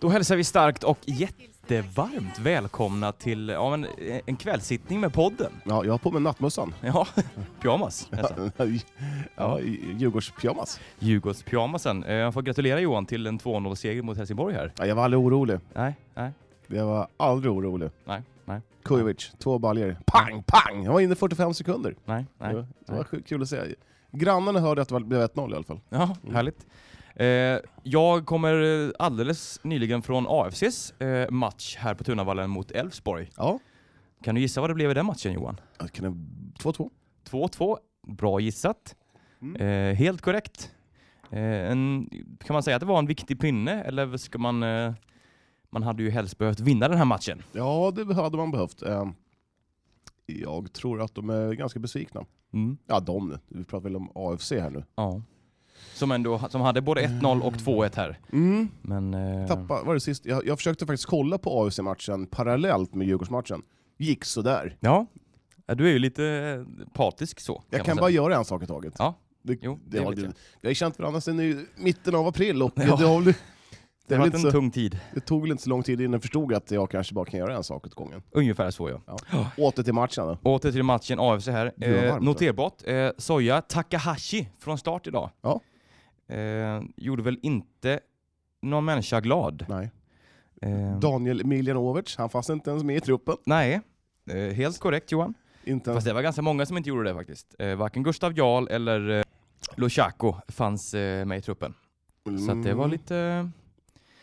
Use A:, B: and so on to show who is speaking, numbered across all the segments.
A: Då hälsar vi starkt och jättevarmt välkomna till ja, en, en kvällssittning med podden.
B: Ja, jag har på mig nattmössan.
A: Ja, pyjamas Alltså, nästan.
B: ja, i- Djurgårdspyjamas.
A: Djurgårdspyjamasen. Eh, Jag får gratulera Johan till en 2-0-seger mot Helsingborg här.
B: Ja, jag var aldrig orolig.
A: Nej, nej,
B: Jag var aldrig orolig.
A: nej, nej,
B: Kujovic, två baljer. Pang, pang! Han var inne 45 sekunder.
A: nej. nej.
B: Ja, Det var sjukt kul att se. Grannarna hörde att det var- blev 1-0 i alla fall.
A: Ja, härligt. Eh, jag kommer eh, alldeles nyligen från AFCs eh, match här på Tunavallen mot Elfsborg.
B: Ja,
A: Kan du gissa vad det blev i den matchen Johan?
B: Ja, kan det... 2-2.
A: 2-2. Bra gissat.
B: Mm.
A: Eh, helt korrekt. Eh, en, kan man säga att det var en viktig pinne eller ska man... Eh, man hade ju helst behövt vinna den här matchen.
B: Ja, det hade man behövt. Eh, Jag tror att de är ganska besvikna.
A: Mm.
B: Ja, de. Vi pratar väl om AFC här nu.
A: Ja. Som ändå som hade både 1-0 och 2-1 här.
B: Mm.
A: Men... Eh,
B: Tappa, var det sist? Jag, jag försökte faktiskt kolla på AFC-matchen parallellt med Djurgårdsmatchen. Gick sådär.
A: Ja. Ja, Du är ju lite eh, patisk så.
B: Jag
A: man
B: kan
A: säga.
B: bara göra en sak i taget.
A: Ja.
B: Det,
A: Jo,
B: det
A: det
B: har
A: vet
B: du-
A: jag.
B: Vi har ju känt varandra sedan i mitten av april och
A: Ja.
B: det, har väl, det,
A: Det
B: är
A: har
B: väl
A: varit
B: inte
A: en
B: så,
A: tung tid.
B: det tog väl inte så lång tid innan jag förstod att jag kanske bara kan göra en sak åt gången.
A: Ungefär så ja.
B: Åter till matchen då.
A: Åter till matchen AFC här.
B: Gud, vad
A: Eh,
B: varmt.
A: noterbart, eh, Soja Takahashi från start idag.
B: Ja.
A: Eh, gjorde väl inte någon människa glad.
B: Nej.
A: Eh,
B: Daniel Miljanovic, han fanns inte ens med i truppen.
A: nej, eh, helt korrekt Johan.
B: Inte ens,
A: Fast det var ganska många som inte gjorde det faktiskt. Eh, varken Gustav Jarl eller eh, Lushako fanns eh, med i truppen. Så att det var
B: Mm.
A: lite... eh,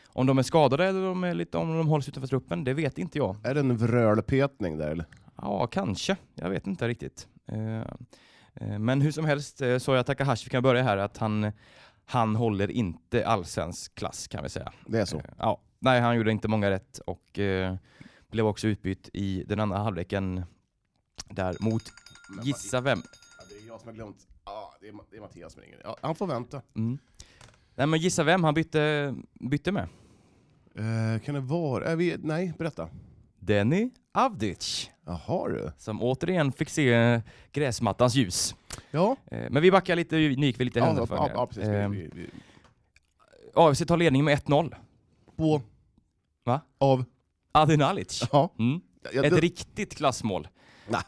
A: om de är skadade eller om de, är lite, om de hålls utanför truppen, det vet inte jag.
B: Mm. Är det en vrölpetning där eller?
A: Ja, kanske. Jag vet inte riktigt. Eh, eh, Men hur som helst, eh, Soja Takahashi, vi kan börja här, att han, han håller inte allsvensk klass kan vi säga.
B: Det är så.
A: Eh, Ja, nej, han gjorde inte många rätt och eh, blev också utbytt i den andra halvleken där mot, gissa vem?
B: Det är jag som har glömt. Ah, det, är, Ma- det är Mattias som ringer. Ja, han får vänta.
A: Mm. Nej men gissa vem han bytte, bytte med?
B: Eh, kan det vara... Är vi, nej, berätta.
A: Denny Avdic,
B: Jaha du.
A: som återigen fick se eh, gräsmattans ljus.
B: Ja,
A: Eh, Men vi backar lite, nu gick vi lite
B: ja,
A: händelser
B: ja,
A: för
B: ja precis. Vi-
A: Eh,
B: vi- vi-
A: AFC tar ledningen med 1-0.
B: På...
A: Va?
B: Av...
A: Adin Alic.
B: Ja.
A: Mm.
B: Ja,
A: Ett
B: det-
A: riktigt klassmål.
B: Nej,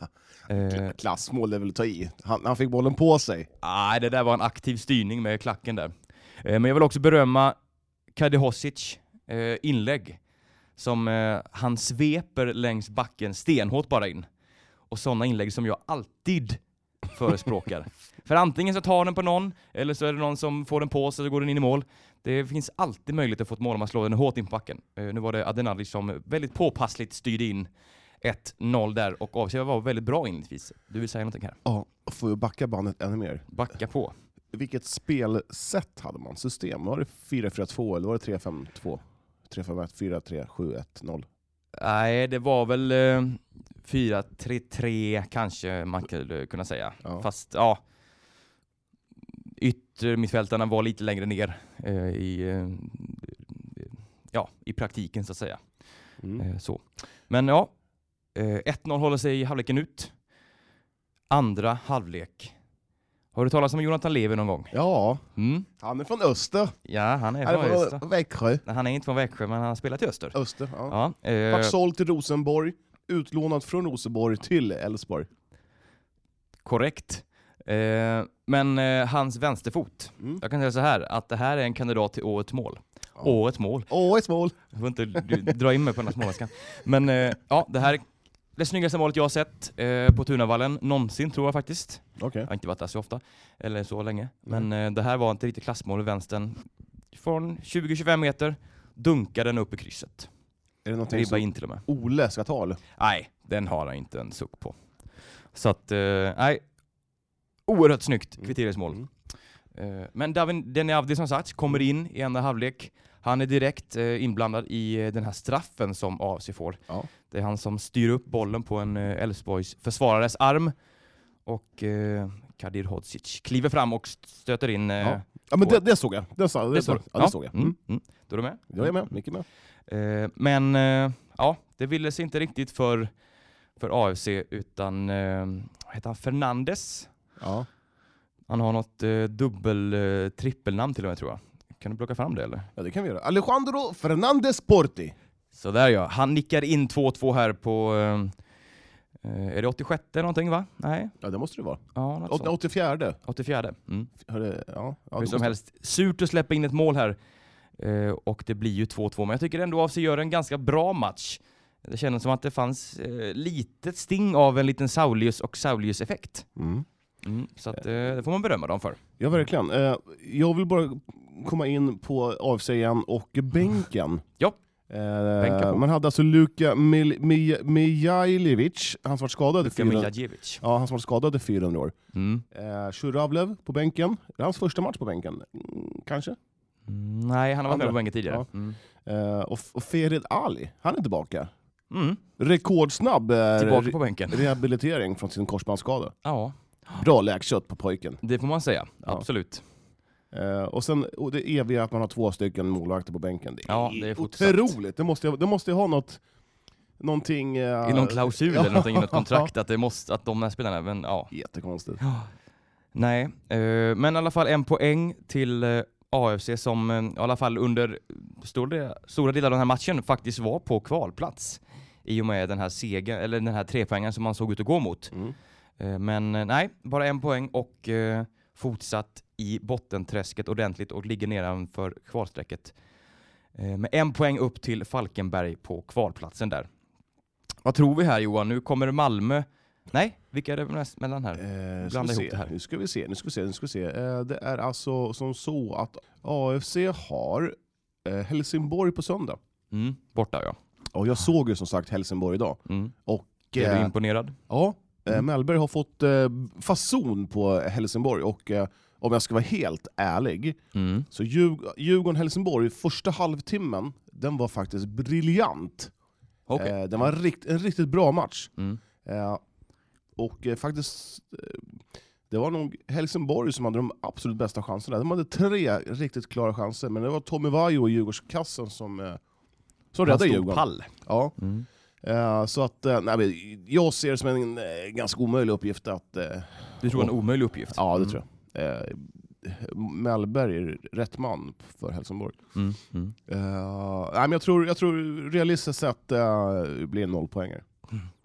A: Eh,
B: Klassmål är väl att ta i. Han, han fick bollen på sig.
A: nej, det där var en aktiv styrning med klacken där. Eh, men jag vill också berömma Kadehosic eh, inlägg. Som eh, han sveper längs backen stenhårt bara in. Och sådana inlägg som jag alltid förespråkar. För antingen så tar den på någon, eller så är det någon som får den på sig så går den in i mål. Det finns alltid möjlighet att få ett mål om man slår den hårt in på backen. Eh, nu var det Adenalic som väldigt påpassligt styrde in 1-0 där och avser var väldigt bra inledningsvis. Du vill säga någonting här?
B: Ja, får ju backa bandet ännu mer.
A: Backa på.
B: Vilket spelsätt hade man? System? Var det 4-4-2 eller var det 3-5-2? 3-5-1, 4-3, 7-1-0?
A: Nej, det var väl eh, 4-3-3 kanske man skulle kunna säga.
B: Ja.
A: Fast ja, yttermittfältarna var lite längre ner eh, i, eh, ja, i praktiken så att säga.
B: Mm.
A: Eh, så. Men ja, eh, 1-0 håller sig i halvleken ut. Andra halvlek. Har du talat om Jonathan Levi någon gång?
B: Ja,
A: Mm.
B: han är från Öster.
A: Ja, han är
B: Han
A: från
B: är
A: Öster.
B: från Växjö.
A: Nej, Han är inte från Växjö, men han har spelat i Öster.
B: Öster, ja.
A: Ja, eh,
B: Vart såld till Rosenborg, utlånad från Rosenborg till Elfsborg.
A: korrekt. Eh, men eh, hans vänsterfot.
B: Mm.
A: Jag kan säga så här, att det här är en kandidat till årets mål. Årets mål.
B: Åh, ett mål!
A: Jag får inte du, dra in mig på den här småländskan. Men eh, ja, det här är det snyggaste målet jag har sett eh, på Tunavallen någonsin tror jag faktiskt.
B: Okej.
A: Jag har inte varit där så ofta, eller så länge. Men eh, det här var inte riktigt klassmål i vänstern. Från 20-25 meter dunkade den upp i krysset.
B: Är det någonting
A: Ribba
B: som
A: in till och med.
B: Ole ska ta eller?
A: Nej, den har han inte en suck på. Så att, eh, nej. Oerhört snyggt kvitteringsmål.
B: Mm.
A: Eh, Men Davin Denny Avdi som sagt kommer in i andra halvlek. Han är direkt eh, inblandad i eh, den här straffen som AFC får.
B: Ja.
A: Det är han som styr upp bollen på en eh, Elfsborgs försvarares arm. Och eh, Kadir Hodzic kliver fram och stöter in. eh,
B: Ja, Ja men det, det såg jag. Det, sa, det,
A: det
B: såg,
A: står-
B: Ja, det såg jag.
A: Mm.
B: Mm.
A: Mm. Då är du med?
B: Jag är med, Micke är med.
A: Eh, men eh, ja, det ville sig inte riktigt för, för AFC utan, eh, vad heter han, Fernandes?
B: Ja.
A: Han har något eh, dubbel, eh, trippelnamn till och med tror jag. Kan du plocka fram det eller?
B: Ja, det kan vi göra. Alejandro Fernandez Porti.
A: Sådär ja, han nickar in 2-2 här på... eh, eh, är det 86 någonting va? Nej?
B: Ja, det måste det vara.
A: Ja, något
B: Åt-
A: sånt.
B: 84.
A: 84. Mm.
B: Hör det- Ja, ja,
A: Alltså. Hur
B: det
A: som
B: måste...
A: helst, surt att släppa in ett mål här. Eh, och det blir ju 2-2, men jag tycker ändå AFC gör en ganska bra match. Det kändes som att det fanns eh, litet sting av en liten Saulius och Saulius-effekt.
B: Mm.
A: Mm, så att, eh, det får man berömma dem för.
B: Ja, verkligen. Eh, Jag vill bara komma in på AFC igen och bänken.
A: Ja.
B: Eh,
A: Bänka på.
B: Man hade alltså Luka Mil- Mij- Mijailovic, han som varit skadad i
A: Luka
B: 400
A: Mijajevic.
B: Ja, han som varit skadad i 400 år.
A: Mm.
B: Eh, Shuravlev på bänken. Det är hans första match på bänken, mm, kanske.
A: Mm, Nej, han har varit
B: Andra.
A: med på bänken tidigare.
B: Ja.
A: Mm.
B: Eh, och, och Ferid Ali, han är tillbaka.
A: Mm.
B: Rekordsnabb eh,
A: Tillbaka
B: re-
A: på bänken.
B: rehabilitering från sin korsbandsskada.
A: Ja,
B: Bra läkkött på pojken.
A: det får man säga.
B: Ja.
A: Absolut.
B: Eh, och sen och det eviga att man har två stycken målvakter på bänken. Det är,
A: Ja, det är fortsatt.
B: otroligt! Det måste, det måste ju ha något, någonting... Eh,
A: I någon klausul
B: Ja.
A: eller någonting i något kontrakt att, det måste, att de här spelarna, men ja.
B: Jättekonstigt.
A: Nej, eh, men i alla fall en poäng till eh, AFC som eh, i alla fall under stor del, stora delar av den här matchen faktiskt var på kvalplats. I och med den här seger, eller den här trepoängen som man såg ut att gå mot.
B: Mm.
A: Eh, men eh, nej, bara en poäng och eh, fortsatt i bottenträsket ordentligt och ligger nedanför kvalstrecket. Eh, med en poäng upp till Falkenberg på kvalplatsen där. Vad tror vi här Johan? Nu kommer Malmö... Nej, vilka är det näst mellan här?
B: Eh, ska
A: Blanda
B: vi
A: ihop det
B: se.
A: här.
B: Nu ska vi se, nu ska vi se, nu ska vi se. Eh, det är alltså som så att AFC har eh, Helsingborg på söndag.
A: Mm, borta ja.
B: Och jag såg ju som sagt Helsingborg idag.
A: Mm.
B: Och,
A: Är du
B: eh,
A: imponerad?
B: ja, eh,
A: Mm.
B: Mellberg har fått eh, fason på Helsingborg och eh, om jag ska vara helt ärlig,
A: Mm.
B: så Djurg- Djurgården-Helsingborg, första halvtimmen, den var faktiskt briljant.
A: Okej.
B: Eh, den var rikt, en riktigt bra match.
A: Mm.
B: Eh, och eh, faktiskt, eh, det var nog Helsingborg som hade de absolut bästa chanserna. De hade tre riktigt klara chanser, men det var Tommy Vaiho i Djurgårdskassen som, eh, som
A: Han
B: räddade
A: stod
B: Djurgården.
A: pall.
B: Ja.
A: Mm.
B: Eh, så att, eh, nej, men jag ser det som en eh, ganska omöjlig uppgift att... Eh,
A: Du tror en omöjlig uppgift?
B: ja, det tror jag. Eh, Mellberg är rätt man för Helsingborg.
A: jag. Mm. Mm.
B: Eh, nej, men jag, tror, jag tror realistiskt sett eh, blir en nollpoängare.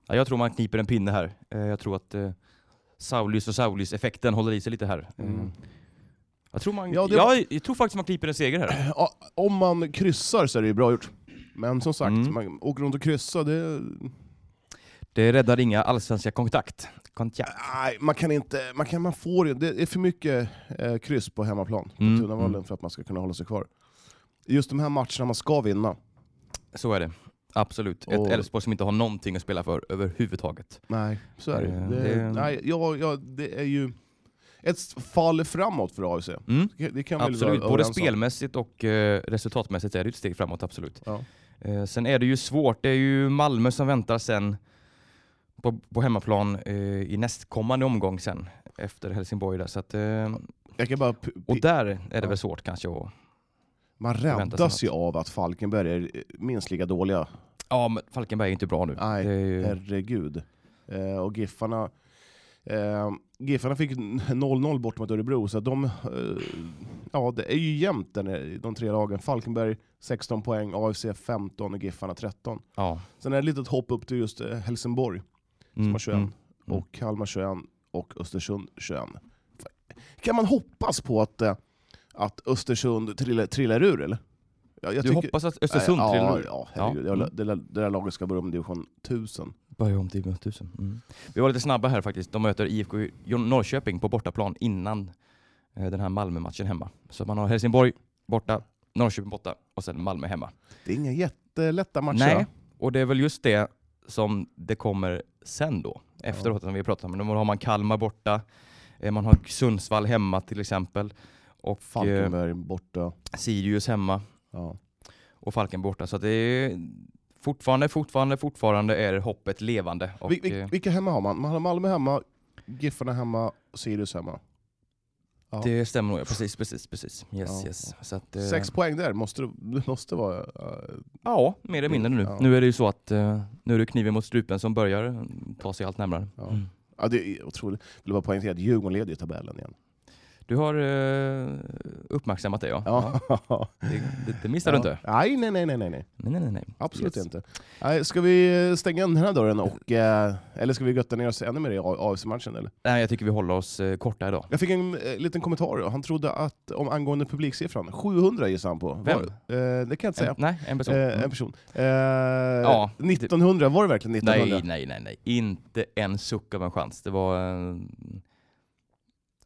A: Ja, jag tror man kniper en pinne här. Eh, jag tror att eh, Saulius och Saulius-effekten håller i sig lite här. Eh,
B: Mm.
A: Jag, tror man,
B: Ja, det-
A: ja, jag tror faktiskt man kniper en seger här.
B: Eh, Ja, om man kryssar så är det ju bra gjort. Men som sagt,
A: Mm.
B: man åker runt och kryssar, det,
A: Det räddar inga allsvenska kontakt. kontakt.
B: nej, man kan inte, man, kan, man får, ju- det är för mycket eh, kryss på hemmaplan, på
A: Mm,
B: Tunavallen,
A: mm.
B: för att man ska kunna hålla sig kvar. Just de här matcherna man ska vinna,
A: Så är det. Absolut.
B: Och-
A: Ett Elfsborg som inte har någonting att spela för överhuvudtaget.
B: nej, så är det, ju.
A: Eh,
B: det,
A: det-
B: Nej, ja, ja, det är ju ett fall framåt för AFC.
A: Mm.
B: Det kan- Det kan vi väl
A: Absolut,
B: vara
A: både
B: överens om.
A: spelmässigt och eh, resultatmässigt är det ett steg framåt, absolut.
B: Ja.
A: Eh, sen är det ju svårt, det är ju Malmö som väntar sen på, på hemmaplan eh, i nästkommande omgång sen efter Helsingborg där. Så att, eh,
B: Jag kan bara p-
A: och där är det
B: Ja.
A: väl svårt kanske att...
B: Man
A: Förväntas
B: räddas ju av att Falkenberg är eh, minst lika dåliga.
A: Ja, men Falkenberg är inte bra nu.
B: Nej,
A: det är ju,
B: Herregud. Eh, och Giffarna, eh, Giffarna fick 0-0 bort mot Örebro, så att de, eh, ja, det är ju jämnt den, de tre lagen. Falkenberg 16 poäng, AFC 15 och Giffarna 13.
A: ja.
B: Sen är det ett litet hopp upp till just eh, Helsingborg, som
A: Mm,
B: har 21,
A: mm.
B: och Kalmar 21 och Östersund 21. Kan man hoppas på att, eh, att Östersund trillar, trillar ur, eller? Ja, jag
A: Du
B: tycker-
A: hoppas att Östersund
B: Nej,
A: trillar
B: ja,
A: ur?
B: Ja, herregud.
A: Ja. Mm.
B: Jag- Det, där, det där laget ska börja om division 1000.
A: Börjar om till 1000. Mm. Vi var lite snabba här faktiskt. De möter IFK Norrköping på bortaplan innan eh, den här Malmö-matchen hemma. Så man har Helsingborg borta, Norrköping borta och sen Malmö hemma.
B: Det är inga jättelätta matcher.
A: Nej,
B: va?
A: och det är väl just det som det kommer sen då. Efteråt som vi pratar om. Då har man Kalmar borta, eh, man har Sundsvall hemma till exempel. Och eh,
B: Falkenberg borta.
A: Sirius hemma
B: Ja.
A: och Falken borta. Så att det är fortfarande, fortfarande, fortfarande är hoppet levande. Och,
B: Vil- vil-
A: eh,
B: vilka hemma har man? Man har Malmö hemma, Giffarna hemma, Sirius hemma. ja.
A: Det stämmer nog, ja. precis, precis, precis. Yes,
B: Ja.
A: yes. Så att, eh,
B: Sex poäng där måste det, det måste vara... eh,
A: Ja, mer eller mindre nu.
B: Ja.
A: Nu är det ju så att eh, nu är det kniven mot strupen som börjar eh, ta sig allt närmare.
B: ja.
A: Mm.
B: Ja, det är otroligt. Jag vill bara poängtera att Djurgården leder ju tabellen igen.
A: Du har eh, uppmärksammat det ja.
B: Ja.
A: Det, det, det missar du inte.
B: Nej, nej, nej, nej, nej, nej.
A: Nej, nej, nej, nej.
B: Absolut
A: Yes.
B: inte. Nej, ska vi eh, stänga den här dörren och... Eh, eller ska vi götta ner oss ännu mer i AFC-matchen eller?
A: Nej, jag tycker vi håller oss eh, korta idag.
B: Jag fick en eh, liten kommentar. då. Han trodde att, om angående publiksiffran, 700 gissade han på.
A: Vem?
B: Var, eh, det kan jag inte säga.
A: En, nej, en person.
B: Eh, en
A: Mm.
B: person. Eh, 1900, var det verkligen 1900?
A: Mm. Nej, nej, nej, nej. Inte en suck av en chans. Det var... Eh,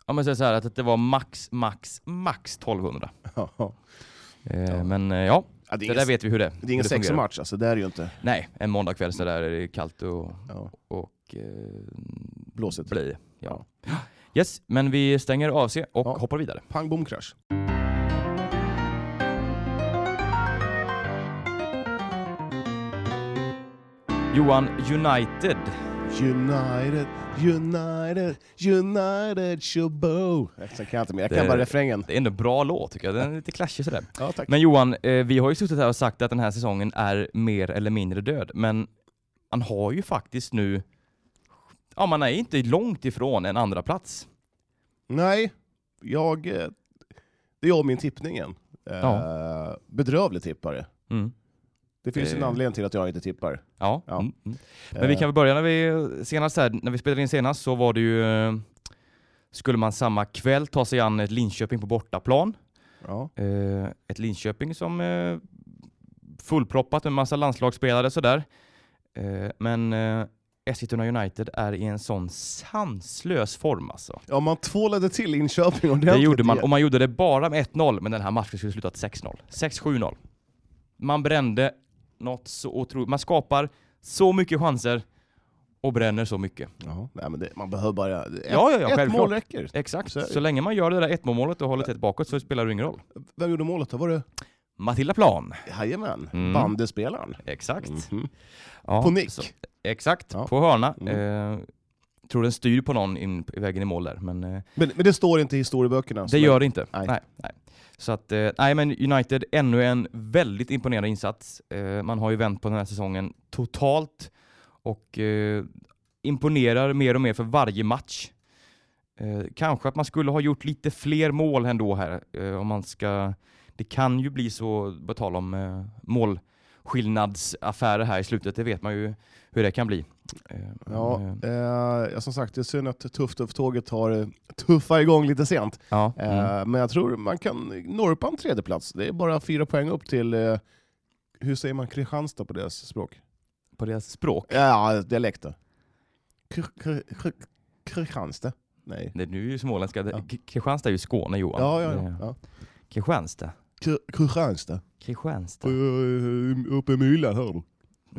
A: om man säger så här, att det var max, max, max 1200.
B: Ja.
A: Eh,
B: Ja.
A: Men eh, ja,
B: Ja, det är
A: det där
B: ingen,
A: vet vi hur det
B: det är
A: hur
B: ingen sexig
A: fungerar.
B: match alltså, det är det ju inte.
A: Nej, en måndagkväll så där är det kallt och,
B: Ja,
A: och eh,
B: blåset.
A: bli. Ja. Yes, men vi stänger av sig och
B: Ja.
A: hoppar vidare.
B: Pang bom krasch.
A: Johan, United.
B: United, United, United Shobo. Sen kan jag inte mer, jag kan
A: Det-
B: bara refrängen.
A: Det är ändå en bra låt tycker jag. Den är lite klatschig sådär.
B: Ja, tack.
A: Men Johan, eh, vi har ju suttit här och sagt att den här säsongen är mer eller mindre död, men han har ju faktiskt nu... Ja, man är inte långt ifrån en andra plats.
B: Nej, jag... eh, Det är jag och min tippning igen. Eh, Bedrövlig tippare.
A: Mm.
B: Det finns en
A: Eh.
B: anledning till att jag inte tippar.
A: Ja.
B: Ja.
A: Mm. Mm. Men vi
B: Eh,
A: kan väl börja när vi senast här, när vi spelade in senast så var det ju... eh, Skulle man samma kväll ta sig an ett Linköping på bortaplan.
B: Ja.
A: Eh, ett Linköping som eh, fullproppat med massa landslagsspelare sådär. Eh, men eh, Eskilstuna United är i en sån sanslös form alltså.
B: ja, man tvålade till Linköping
A: Det
B: ordentligt.
A: gjorde man
B: igen.
A: och man gjorde det bara med 1-0, men den här matchen skulle slutat 6-0. 6-7-0. Man brände något så otroligt. Man skapar så mycket chanser och bränner så mycket.
B: Ja, nej, men det, man behöver bara... Ett,
A: Ja, ja, ja,
B: ett
A: självklart.
B: mål räcker.
A: Exakt.
B: Så
A: Så,
B: är det.
A: länge man gör det där 1-målet och håller tätt bakåt så spelar det ingen roll.
B: Vem gjorde målet då? Var det...
A: Matilda Plan.
B: Jajamän,
A: Mm.
B: bandespelaren.
A: Exakt.
B: Mhm.
A: Ja,
B: På nick.
A: så- Exakt,
B: Ja.
A: på hörna.
B: Mm.
A: Eh, tror den styr på någon in, i vägen i mål där, men eh,
B: Men, men det står inte i historieböckerna. så
A: det gör det inte.
B: Alltså, Nej.
A: Nej. Nej, Så att, eh, nej men United, ännu en väldigt imponerande insats. Eh, man har ju vänt på den här säsongen totalt och eh, imponerar mer och mer för varje match. Eh, kanske att man skulle ha gjort lite fler mål ändå här, eh, om man ska... Det kan ju bli så, på tal om eh, målskillnadsaffärer här i slutet, det vet man ju hur det kan bli. Eh, men,
B: Ja,
A: eh,
B: eh, ja, som sagt, det är synd att Tuff-Tuff-tåget har eh, tuffat igång lite sent.
A: ja, mm.
B: Eh, men jag tror man kan norpa en tredjeplats. Det är bara fyra poäng upp till, eh, hur säger man Kristianstad på deras språk?
A: på deras språk.
B: Ja, dialekter. Kr- kr- kr- Kristianstad? Nej.
A: Det, nu är ju småländska.
B: Ja.
A: Ja. Kristianstad är ju Skåne Johan.
B: Ja, ja,
A: Eh,
B: ja. ja.
A: Kristianstad.
B: Kr- Kristianstad.
A: Kristianstad.
B: Eh, Uppe i myllan hör du.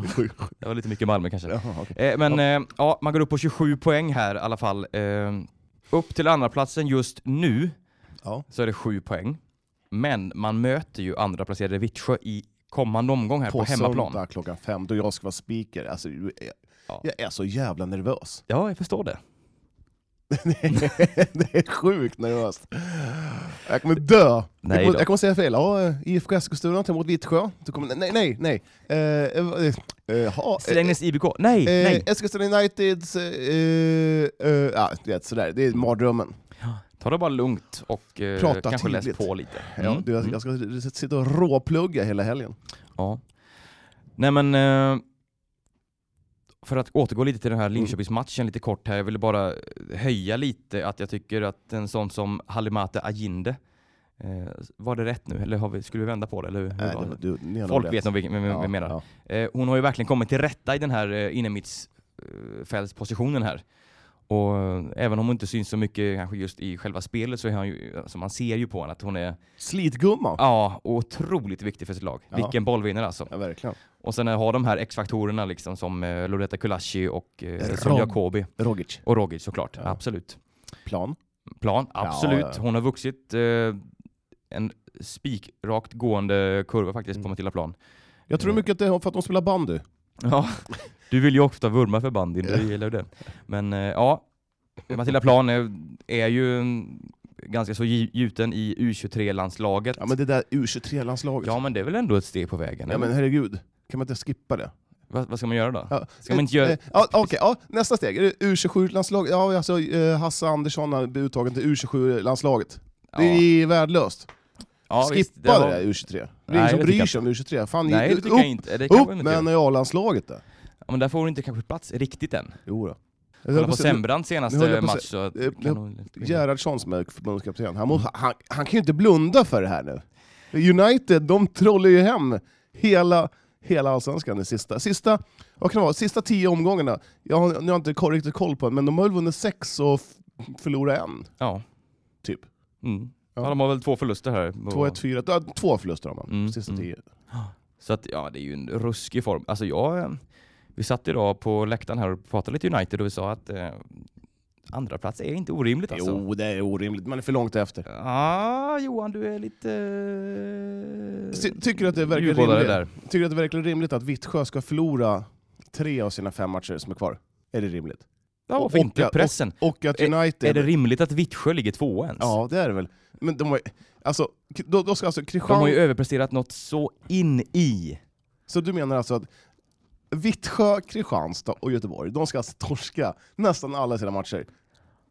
A: Det var lite mycket Malmö kanske.
B: Jaha, okej.
A: Eh, men eh, ja, man går upp på 27 poäng här i alla fall. Eh, upp till andra platsen just nu
B: Ja.
A: så är det 7 poäng. Men man möter ju andra placerade Vittsjö i kommande omgång här på,
B: på
A: hemmaplan.
B: söndag klockan fem då jag ska vara speaker. Alltså, jag, är-
A: Ja.
B: jag är så jävla nervös.
A: Ja, jag förstår det.
B: det är sjukt nervöst. Jag kommer dö.
A: Nej
B: jag, kommer,
A: då.
B: jag kommer säga fel. Ja, eh, IFK Eskilstuna tar emot Vittsjö. Du kommer, nej, nej, nej. Eh, eh, eh, jaha, eh,
A: Strängnäs IBK. Nej,
B: eh,
A: nej.
B: Eskilstuna Uniteds... Eh, eh, ja, du vet, sådär. Det är mardrömmen.
A: Ta det bara lugnt och eh,
B: Prata
A: kanske läs
B: tydligt.
A: på lite.
B: Ja,
A: Mm,
B: du, jag,
A: mm.
B: jag ska sitta och råplugga hela helgen.
A: Ja. Nej men, eh, för att återgå lite till den här Linköpingsmatchen lite kort här. Jag ville bara eh, höja lite att jag tycker att en sån som Halimate Aginde, eh, var det rätt nu? Eller har vi, skulle vi vända på det? Eller hur, hur
B: Nej,
A: var
B: det,
A: det?
B: du, ni har nog
A: Folk
B: rätt.
A: vet nog vilken- vem vem vi menar.
B: Ja,
A: Eh, hon har ju verkligen kommit till rätta i den här eh, innermittfältspositionen här. Och eh, även om hon inte syns så mycket kanske just i själva spelet så är hon ju, alltså man ser ju på henne att hon är
B: Slitgumma. Ja.
A: ja, otroligt viktig för sitt lag.
B: Ja.
A: Vilken bollvinnare alltså.
B: verkligen.
A: Och sen har de här X-faktorerna liksom som eh, Loretta Kulashi och eh,
B: Rom.
A: som Jacobi
B: Rogic.
A: och Rogic såklart.
B: Ja.
A: Absolut.
B: Plan.
A: Plan,
B: Ja,
A: absolut.
B: ja.
A: Hon har vuxit eh, en spikrakt gående kurva faktiskt på
B: Mm.
A: Matilda Plan.
B: Jag tror
A: Eh.
B: mycket att det är för att de spelar bandy.
A: Ja. Du vill ju ofta vurma för bandyn, du gillar ju det. Men eh, ja, Matilda Plan är, är ju en- ganska så gi- gjuten i U23-landslaget.
B: Ja men det där U23-landslaget.
A: Ja men det är väl ändå ett steg på vägen?
B: Ja
A: eller?
B: men herregud, kan man inte skippa det?
A: Vad, vad ska man göra då?
B: Ja,
A: Ska man inte göra-
B: eh, ja, Okej, ja, nästa steg. Är det U27-landslaget? Ja, alltså eh, Hasse Andersson har blivit uttagen till U27-landslaget. Det är värdelöst.
A: ja,
B: Skippa
A: visst,
B: det,
A: var-
B: där U23. Det är
A: Nej,
B: ingen
A: det
B: som
A: tycker
B: bryr
A: jag
B: sig om U23. Fan,
A: Nej, det
B: upp,
A: tycker jag inte. Det kan
B: upp
A: man inte
B: med
A: göra.
B: A-landslaget där.
A: Ja, men där får hon inte kanske plats riktigt än.
B: Jo då. Jag höll
A: Kolla
B: på
A: på
B: att se-
A: Sembrant
B: nu höll jag
A: senaste
B: på att
A: match så
B: eh,
A: kan hon...
B: Gerhardsson som är förbundskapten, han, må, han, han kan ju inte blunda för det här nu. United, de trollar ju hem hela, hela allsvenskan de sista, sista, vad kan det vara, sista tio omgångarna. Jag har, jag har inte ko- riktigt koll på det, men de har väl vunnit sex och f- förlorat en,
A: Ja.
B: typ.
A: Mm.
B: Ja.
A: Ja. de har väl två förluster här.
B: Två, ett, fyra, ja, två förluster har man,
A: Mm,
B: sista
A: mm.
B: tio.
A: Så att, ja, det är ju en ruskig form. Alltså jag, eh, vi satt idag på läktaren här och pratade lite United och vi sa att eh, andra plats är inte orimligt alltså.
B: Jo, det är orimligt, man är för långt efter.
A: Ja, Johan du är lite...
B: Ty- tycker du att det verkar
A: Djurgårdare
B: rimligt?
A: där.
B: Tycker du att det är verkligen rimligt att Vittsjö ska förlora tre av sina fem matcher som är kvar? Är det rimligt?
A: Ja,
B: Och-
A: varför
B: och-
A: inte?
B: och-
A: Pressen.
B: Och att
A: Är-
B: United...
A: Är det rimligt att Vittsjö ligger tvåa ens?
B: Ja, det är det väl. Men de har, alltså, k- då, då ska alltså
A: De har
B: Kristian...
A: ju överpresterat något så in i.
B: Så du menar alltså att Vittsjö, Kristianstad och Göteborg, de ska alltså torska nästan alla sina matcher.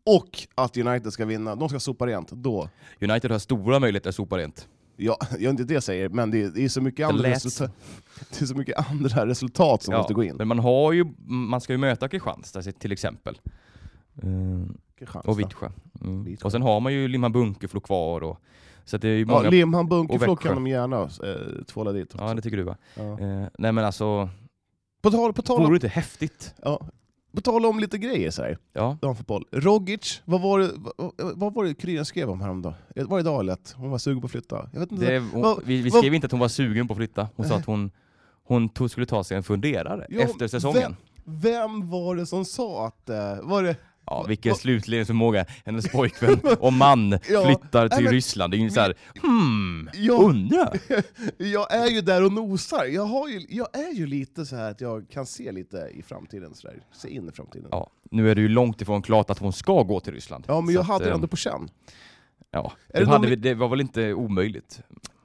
B: Och att United ska vinna, de ska sopa rent. Då,
A: United har stora möjligheter att sopa rent.
B: ja, jag är inte det jag säger, men det är, det är så mycket
A: Det
B: andra
A: lät
B: resultat, det är så mycket andra resultat som
A: Ja,
B: måste gå in.
A: Men man har ju, man ska ju möta Kristianstad till exempel. Eh,
B: Kristianstad.
A: Och Vittsjö. Mm.
B: Vittsjö.
A: Och sen har man ju Limhamn Bunkeflo kvar. Och, så att det är ju
B: Ja,
A: många... Ja,
B: Limhamn Bunkeflo
A: och Växjö.
B: kan de gärna eh, tvåla dit. också.
A: det tycker du va?
B: Ja.
A: Eh, nej men alltså,
B: På, tal, på, tal
A: vore det
B: om,
A: inte häftigt?
B: ja, på tal om lite grejer så här.
A: Ja.
B: damfotboll. Rogic, vad var det, vad, vad var det Kryran skrev om häromdagen? Det var idag eller att hon var sugen på att flytta? Jag vet inte.
A: Det, hon,
B: vad-
A: vi, vi
B: vad-
A: skrev inte att hon var sugen på att flytta. Hon sa att hon, hon tog, skulle ta sig en funderare
B: Ja,
A: efter säsongen.
B: Vem var det som sa att... eh, Var det,
A: Ja, vilken slutledningsförmåga. Hennes pojkvän och man flyttar
B: Nej,
A: till
B: men-
A: Ryssland. Det är ju såhär, hmm,
B: Ja.
A: undra.
B: jag är ju där och nosar. Jag, har ju, jag är ju lite så här att jag kan se lite i framtiden. Så där. Se in i framtiden. Ja,
A: Ja, nu är det ju långt ifrån klart att hon ska gå till Ryssland.
B: men
A: Så
B: jag
A: att,
B: hade det
A: eh,
B: ändå på känn.
A: Ja,
B: det
A: det, hade
B: någon-
A: vi, det var väl inte omöjligt.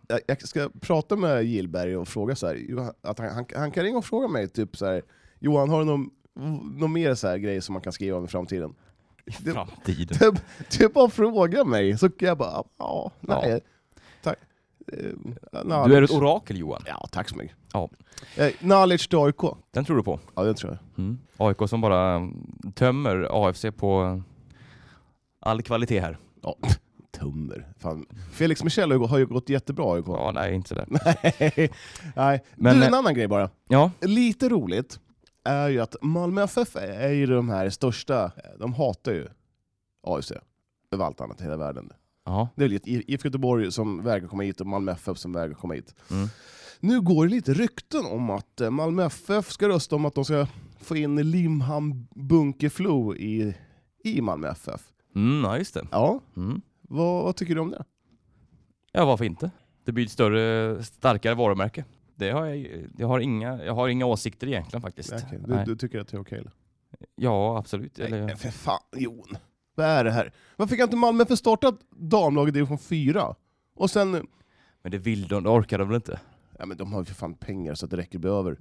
B: Jag, jag ska prata med Gillberg och fråga så här, Johan- att han, han, han kan ringa och fråga mig typ så här, Johan, har du någon, någon mer så här grej som man kan skriva om i framtiden?
A: I
B: Det-
A: framtiden.
B: typ, typ bara fråga mig, så kan jag bara, ja, nej. Tack. Eh, Nalic.
A: Du är ett orakel Johan.
B: Ja, tack så mycket.
A: Ja.
B: Eh, Nalic till AIK?
A: Den tror du på.
B: Ja, det tror jag.
A: Mm. AIK som bara mm, tömmer AFC på all kvalitet här.
B: Ja, tummer. Fan. Felix Michel har ju- har ju gått jättebra i AIK.
A: Ja, nej, inte sådär.
B: nej.
A: Men- eh,
B: du, en annan grej bara.
A: Ja,
B: Lite roligt är ju att Malmö FF är ju de här största, eh, de hatar ju AFC över allt annat i hela världen.
A: ja.
B: Det är väl IFK Göteborg som vägrar komma hit och Malmö FF som vägrar komma hit.
A: Mm.
B: Nu går det lite rykten om att eh, Malmö FF ska rösta om att de ska få in Limhamn Bunkeflo i, i Malmö FF.
A: Mm, ja, just det.
B: Ja,
A: Mm.
B: vad, vad tycker du om det?
A: Ja, varför inte? Det blir ett större, starkare varumärke. Det har jag, jag, har inga, jag har inga åsikter egentligen faktiskt.
B: Okej,
A: Nej.
B: Du, du tycker att det är okej? eller?
A: Ja, absolut.
B: Nej,
A: Eller,
B: för fan Jon. Vad är det här? Varför kan inte Malmö få starta damlaget i division 4? Och sen...
A: men det vill de, det orkar de väl inte?
B: Ja, men de har ju för fan pengar så att det räcker behöver.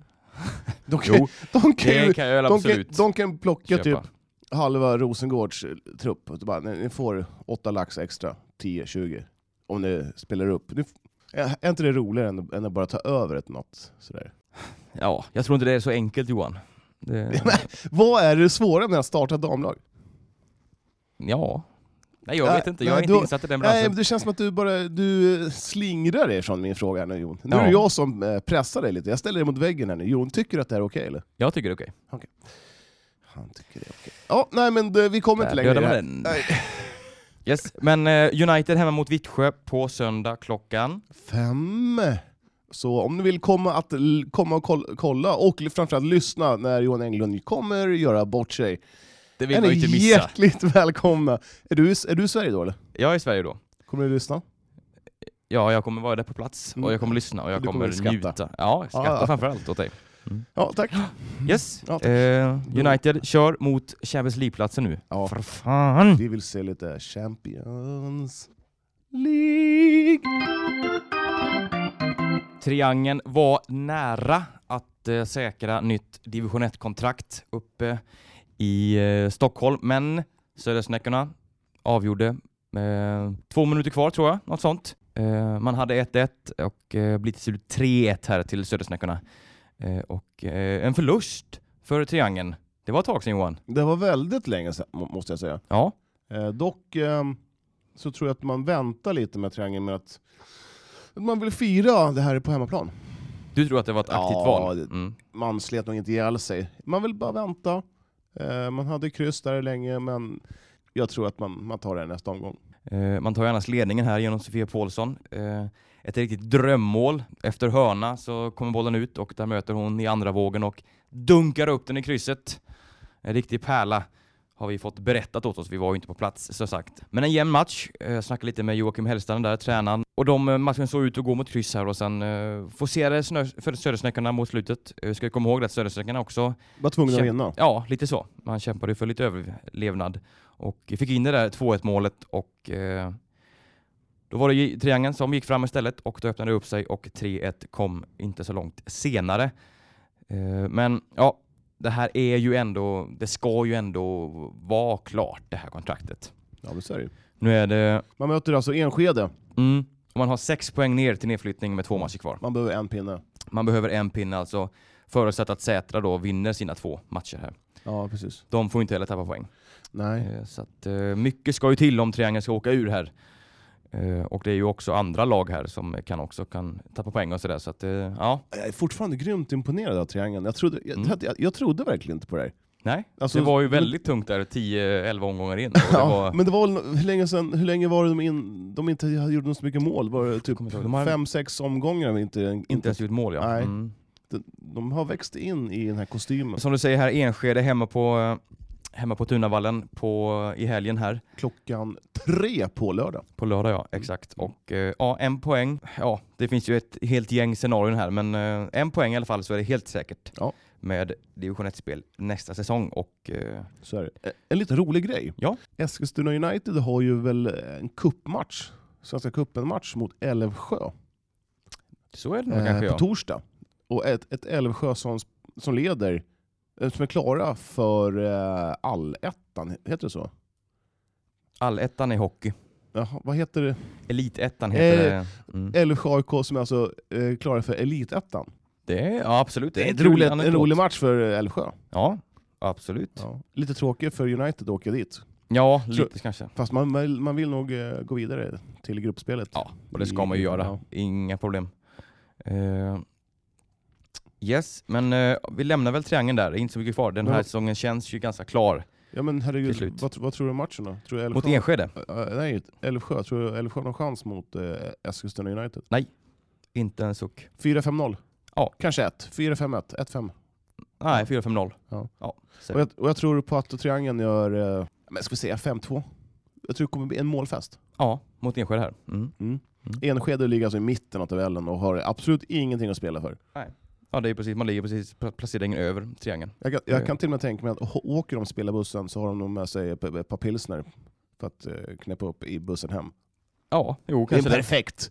B: De kan,
A: Jo,
B: de kan, ju-
A: det kan jag väl
B: de kan,
A: absolut
B: de kan plocka typ
A: köpa.
B: halva Rosengårds eh, trupp. Och så bara, ni ni får åtta lax extra, 10-20, om ni spelar upp. Ni f- Är är inte det roligare än, än att bara ta över ett något? Sådär.
A: Ja, jag tror inte det är så enkelt Johan. Det,
B: Vad är det svåra med att starta damlag?
A: ja. Nej, jag
B: Nej,
A: vet inte. Jag
B: nej,
A: är inte
B: då-
A: insatt i den branschen.
B: Nej, men det känns som att du bara du eh, slingrar dig från min fråga här nu Jon. Nu är
A: Ja.
B: det jag som eh, pressar dig lite. Jag ställer dig mot väggen här nu. Jon, tycker du att det här är okej eller?
A: Jag tycker det är okej.
B: Han tycker det är okej. Ja, nej men det, vi kommer inte
A: Där
B: längre. i
A: dödade
B: det
A: man
B: här.
A: den.
B: Nej.
A: Yes. Men eh, United hemma mot Vittsjö på söndag klockan.
B: Fem. Så om ni vill komma, att, l- komma och koll- kolla och l- framförallt lyssna när Johan Englund kommer göra bort sig,
A: Det vill
B: är
A: man
B: ni
A: ju inte missa.
B: hjärtligt välkomna. Är du, är du i Sverige då eller?
A: Jag är i Sverige då.
B: Kommer du lyssna?
A: Ja, jag kommer vara där på plats
B: Mm.
A: och jag kommer lyssna och jag
B: Du kommer
A: kommer,
B: skratta.
A: njuta. Ja, skratta
B: Ja, ja.
A: framförallt åt dig.
B: Ja, tack.
A: Yes,
B: Ja, tack.
A: eh, United kör mot Champions League-platsen nu.
B: Ja.
A: För fan!
B: Vi vill se lite Champions League.
A: Triangeln var nära att att eh, säkra nytt division 1-kontrakt uppe i eh, Stockholm. Men Södersnäckorna avgjorde. Eh, två minuter kvar tror jag, något sånt. Eh, man hade 1-1 och eh, blir till slut 3-1 här till Södersnäckorna. Eh, och eh, en förlust för Triangeln. Det var ett tag sedan Johan.
B: Det var väldigt länge sedan, må- måste jag säga.
A: Ja,
B: Eh, dock ehm, så tror jag att man väntar lite med triangeln med att, att man vill fira det här på hemmaplan.
A: du tror att det var ett aktivt
B: Ja,
A: val?
B: det-
A: Mm.
B: Man slet nog inte ihjäl sig. Man vill bara vänta. Eh, man hade kryss där länge, men jag tror att man, man tar det här nästa omgång.
A: Eh, Man tar ju annars ledningen här genom Sofia Paulsson. Eh, Ett riktigt drömmål. Efter hörna så kommer bollen ut och där möter hon i andra vågen och dunkar upp den i krysset. En riktig pärla har vi fått berättat åt oss. Vi var ju inte på plats så sagt. Men en jämn match. Eh, Jag snackade lite med Joakim Hellstrand där, tränaren. Och de eh, matchen såg ut att gå mot kryss här och sen eh, forcerade Snö- för Södersnäckarna mot slutet. Eh, Vi ska komma ihåg att Södersnäckarna också
B: Var tvungen att
A: Kämpa.
B: vinna.
A: Ja, lite så. Man kämpade ju för lite överlevnad och fick in det där 2-1 målet och eh, då var det ju triangeln som gick fram istället och då öppnade det upp sig och 3-1 kom inte så långt senare. Eh, men ja, det här är ju ändå, det ska ju ändå vara klart det här kontraktet.
B: Ja, men så är det. ju.
A: Nu är det,
B: Man möter alltså Enskede.
A: mm, man har sex poäng ner till nedflyttning med två matcher kvar.
B: Man behöver en pinne.
A: Man behöver en pinne alltså, förutsatt att Sätra då vinner sina två matcher här.
B: Ja, precis.
A: De får inte heller tappa poäng.
B: Nej.
A: Eh, Så att, eh, mycket ska ju till om Triangeln ska åka ur här. Eh, Och det är ju också andra lag här som kan också kan tappa poäng och sådär. Så att, eh, ja,
B: Jag är fortfarande grymt imponerad av triangeln. Jag trodde, jag,
A: Mm.
B: jag, jag trodde verkligen inte på det här.
A: nej.
B: Alltså-
A: det var ju väldigt tungt där 10-11 omgångar in. Och det
B: Ja,
A: var,
B: Men det var väl- hur länge, sedan, hur länge var det de, in, de inte gjorde så mycket mål? Var det typ
A: kommer inte ihåg. De har-
B: fem, sex omgångar? Inte, inte,
A: inte ens gjort mål ja.
B: Nej.
A: Mm.
B: de, de har växt in i den här kostymen.
A: Som du säger här, Enskede hemma på, eh, hemma på Tunavallen på, i helgen här.
B: Klockan tre på lördag.
A: På lördag ja, exakt. Och eh, ja, en poäng. Ja, det finns ju ett helt gäng scenarion här, men eh, en poäng i alla fall så är det helt säkert
B: Ja.
A: med division 1-spel nästa säsong. Och eh,
B: Så är det. Eh, En lite rolig grej.
A: Ja.
B: Eskilstuna United har ju väl eh, en kuppmatch, Svenska cupen-match mot Älvsjö
A: så är det nog
B: eh,
A: kanske
B: på
A: ja.
B: torsdag. Och ett, ett Älvsjö som, som leder, eh, som är klara för eh, allettan, heter det så?
A: Allettan i hockey.
B: Jaha, vad heter det?
A: Elitettan heter
B: Eh,
A: det. Mm.
B: Älvsjö AIK som är alltså eh, klara för Elitettan.
A: Det är, ja, absolut.
B: Det är
A: en
B: en
A: kul
B: rolig, en
A: anekdot.
B: rolig match för Älvsjö.
A: Ja, absolut. Ja,
B: Lite tråkigt för United att åka dit.
A: lite kanske.
B: Fast man, vill- man vill nog eh, gå vidare till gruppspelet.
A: Ja, och det ska man ju göra.
B: Ja.
A: Inga problem. Eh, yes, men eh, vi lämnar väl triangeln där. Det är inte så mycket kvar. Den här
B: Ja.
A: säsongen känns ju ganska klar
B: Ja men
A: Till
B: herregud,
A: slut.
B: vad, vad tror du om matchen då? Tror du Älvsjö,
A: mot E Enskede.
B: Eh, nej, Älvsjö. Tror du Älvsjö har någon chans mot eh, Eskilstuna United?
A: Inte en suck.
B: 4-5-0?
A: Ja.
B: Kanske 1. 4-5-1. 1-5.
A: Nej, 4-5-0.
B: Ja.
A: så-
B: Och jag, och jag tror på att Triangeln gör, eh, men ska vi säga 5-2? Jag tror det kommer bli en målfest.
A: ja, mot Enskede här. Mm.
B: Enskede ligger alltså i mitten av tabellen och har absolut ingenting att spela för.
A: Ja, det är precis. Man ligger precis pl- placeringen över triangeln.
B: Jag kan, jag
A: Eh.
B: kan till och med tänka mig att å- åker de spelarbussen så har de nog med sig ett ett par pilsner för att eh, knäppa upp i bussen hem.
A: Ja, jo,
B: Det är
A: kanske det.
B: perfekt!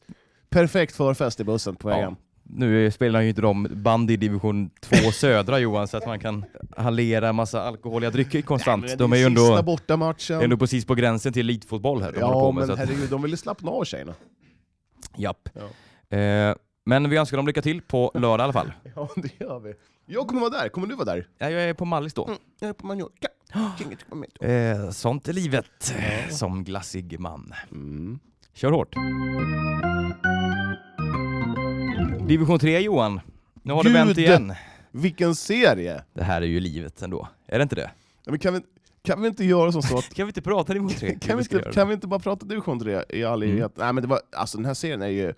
B: Perfekt förfest i bussen på vägen.
A: Nu spelar ju inte de band i division 2 södra Johan, så att man kan halera massa alkoholiga drycker konstant.
B: Men
A: de
B: det
A: är ju
B: Sista
A: ändå,
B: bortamatchen.
A: ändå precis på gränsen till elitfotboll här. De håller
B: ja,
A: på med,
B: men
A: så att,
B: herregud, de ville slappna av tjejerna.
A: japp.
B: Ja.
A: Eh, men vi önskar dem lycka till på lördag i alla fall.
B: Ja, det gör vi. Jag kommer vara där. Kommer du vara där? Mm,
A: Ja, Jag är på Mallis då.
B: Jag är på Mallorca.
A: Eh, sånt är livet som glassig man.
B: Mm.
A: Kör hårt! Division 3 Johan, nu har det
B: Gud.
A: vänt igen.
B: Vilken serie!
A: Det här är ju livet ändå, är det inte det?
B: Ja, Men kan, vi, kan vi inte göra som så att
A: Kan vi inte prata division 3?
B: kan, vi Mm. inte, kan vi inte bara prata division 3 i all evighet? Nej men det var, alltså den här serien är ju,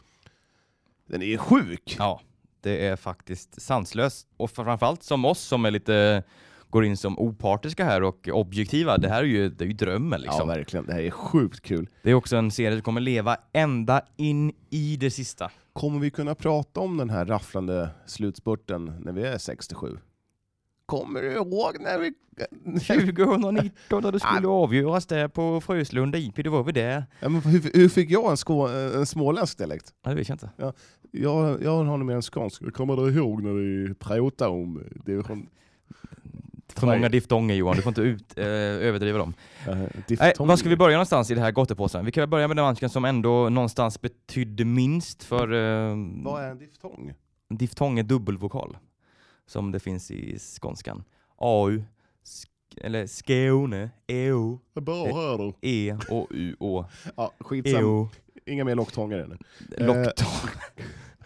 B: den är ju sjuk!
A: Ja, det är faktiskt sanslöst. Och för- framförallt som oss som är lite går in som opartiska här och objektiva. Det här är ju, det är ju drömmen liksom.
B: Ja verkligen, det här är sjukt kul.
A: det är också en serie som kommer leva ända in i det sista.
B: Kommer vi kunna prata om den här rafflande slutspurten när vi är 67? Kommer du ihåg när vi...
A: 2019 när det skulle avgöras där på Fröslunda IP, då var vi där.
B: Ja, men hur, hur fick jag en, skå, eh, en småländsk dialekt?
A: Ja, det vet jag inte.
B: Jag, jag har nog mer en skånsk. Kommer du ihåg när vi pratade om division...
A: För
B: Nej.
A: många diftonger Johan, du får inte ut, eh, överdriva dem.
B: Äh,
A: Nej, var ska vi börja någonstans i det här gottepåsen? Vi kan väl börja med den matchen som ändå någonstans betydde minst för eh,
B: Vad är en diftong?
A: diftong är dubbelvokal, som det finns i skånskan. AU, sk- eller Skåne, EU,
B: Bra hör du.
A: E och U Å.
B: Eh, Ja, skitsamma.
A: EU,
B: Inga mer locktångar ännu.
A: locktång.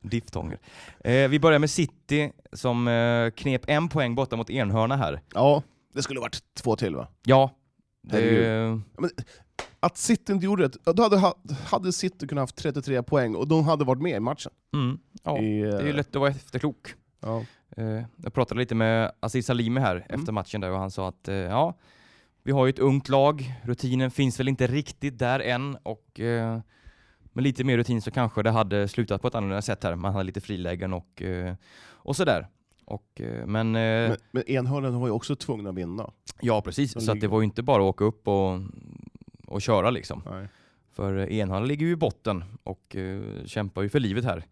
A: Diftonger. Eh, vi börjar med City som eh, knep en poäng borta mot Enhörna här.
B: Ja, det skulle varit två till va?
A: Ja, det, mm,
B: Herregud. Att City inte gjorde det, ja, då hade, ha- hade City kunnat haft 33 poäng och de hade varit med i matchen.
A: mm, ja,
B: I, eh,
A: det är ju lätt att vara efterklok.
B: ja.
A: Eh, Jag pratade lite med Aziz Salimi här
B: Mm.
A: efter matchen där och han sa att eh, ja, vi har ju ett ungt lag, rutinen finns väl inte riktigt där än och eh, med lite mer rutin så kanske det hade slutat på ett annorlunda sätt här. Man hade lite frilägen och, eh, och sådär. Och, eh, men, eh,
B: Men, men enhörnen var ju också tvungna att vinna.
A: ja, precis.
B: de
A: Så att det
B: ligger-
A: var ju inte bara att åka upp och, och köra liksom.
B: Nej.
A: För Enhörna ligger ju i botten och eh, kämpar ju för livet här.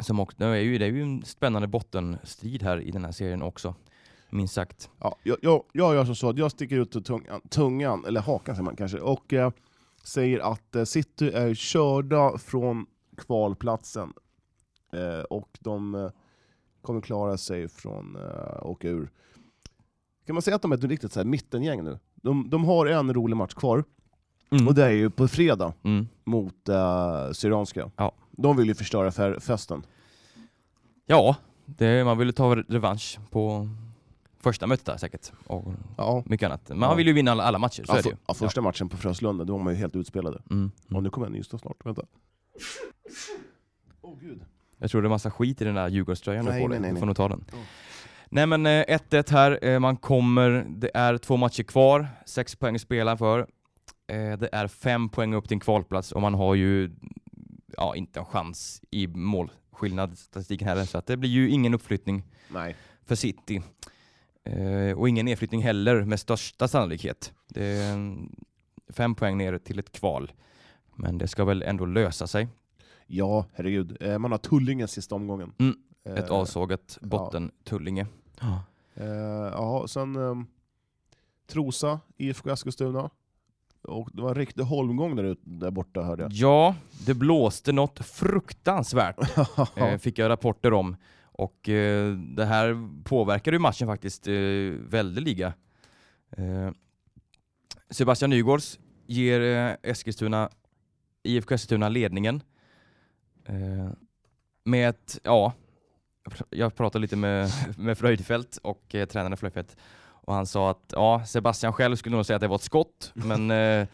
A: Som också, det, är ju, det är ju en spännande bottenstrid här i den här serien också, minst sagt.
B: Ja, jag, jag, jag gör som så att jag sticker ut tungan, tungan eller hakan säger man kanske, och eh, säger att eh, City är körda från kvalplatsen eh, och de eh, kommer klara sig från eh, åka ur. Kan man säga att de är ett riktigt så här, mittengäng nu? De, de har en rolig match kvar,
A: Mm.
B: och det är ju på fredag
A: Mm.
B: mot eh, Syrianska.
A: Ja.
B: De vill ju förstöra fe- festen.
A: Ja, det, man ville ta revansch på första mötet där säkert. Och
B: Ja.
A: mycket annat. Men
B: Ja.
A: man vill ju vinna alla, alla matcher, så
B: Ja,
A: är det ju.
B: för, ja, första matchen på Fröslunda, då var man ju helt utspelade.
A: Mm.
B: Ja,
A: Mm.
B: nu kommer en nystad snart, vänta. Åh gud.
A: Jag tror det är massa skit i den där Djurgårdströjan du har
B: Nej,
A: på
B: nej,
A: dig.
B: nej,
A: Du får
B: nej.
A: nog ta den.
B: Ja.
A: Nej men eh, 1-1 här, Eh, man kommer, det är två matcher kvar, sex poäng att spela för. Eh, Det är fem poäng upp till en kvalplats och man har ju ja, inte en chans i målskillnad statistiken heller, så att det blir ju ingen uppflyttning
B: Nej.
A: för City. Eh, och ingen nedflyttning heller med största sannolikhet. Det är en- fem poäng ner till ett kval. Men det ska väl ändå lösa sig.
B: Ja, herregud. Eh, Man har Tullinge sista omgången.
A: Mm.
B: Eh,
A: Ett avsågat botten Tullinge.
B: eh, Ja, sen ehm, Trosa, IFK Eskilstuna. Och det var en riktig holmgång där, ute, där borta hörde jag.
A: Ja, det blåste något fruktansvärt, eh, fick jag rapporter om. Och eh, det här påverkade ju matchen faktiskt eh, väldeliga. Eh, Sebastian Nygårds ger eh, Eskilstuna, IFK Eskilstuna ledningen. Eh, med ett, ja, jag pratade lite med, med Fröjdfält och eh, tränaren Fröjdfält och han sa att ja, Sebastian själv skulle nog säga att det var ett skott, men eh,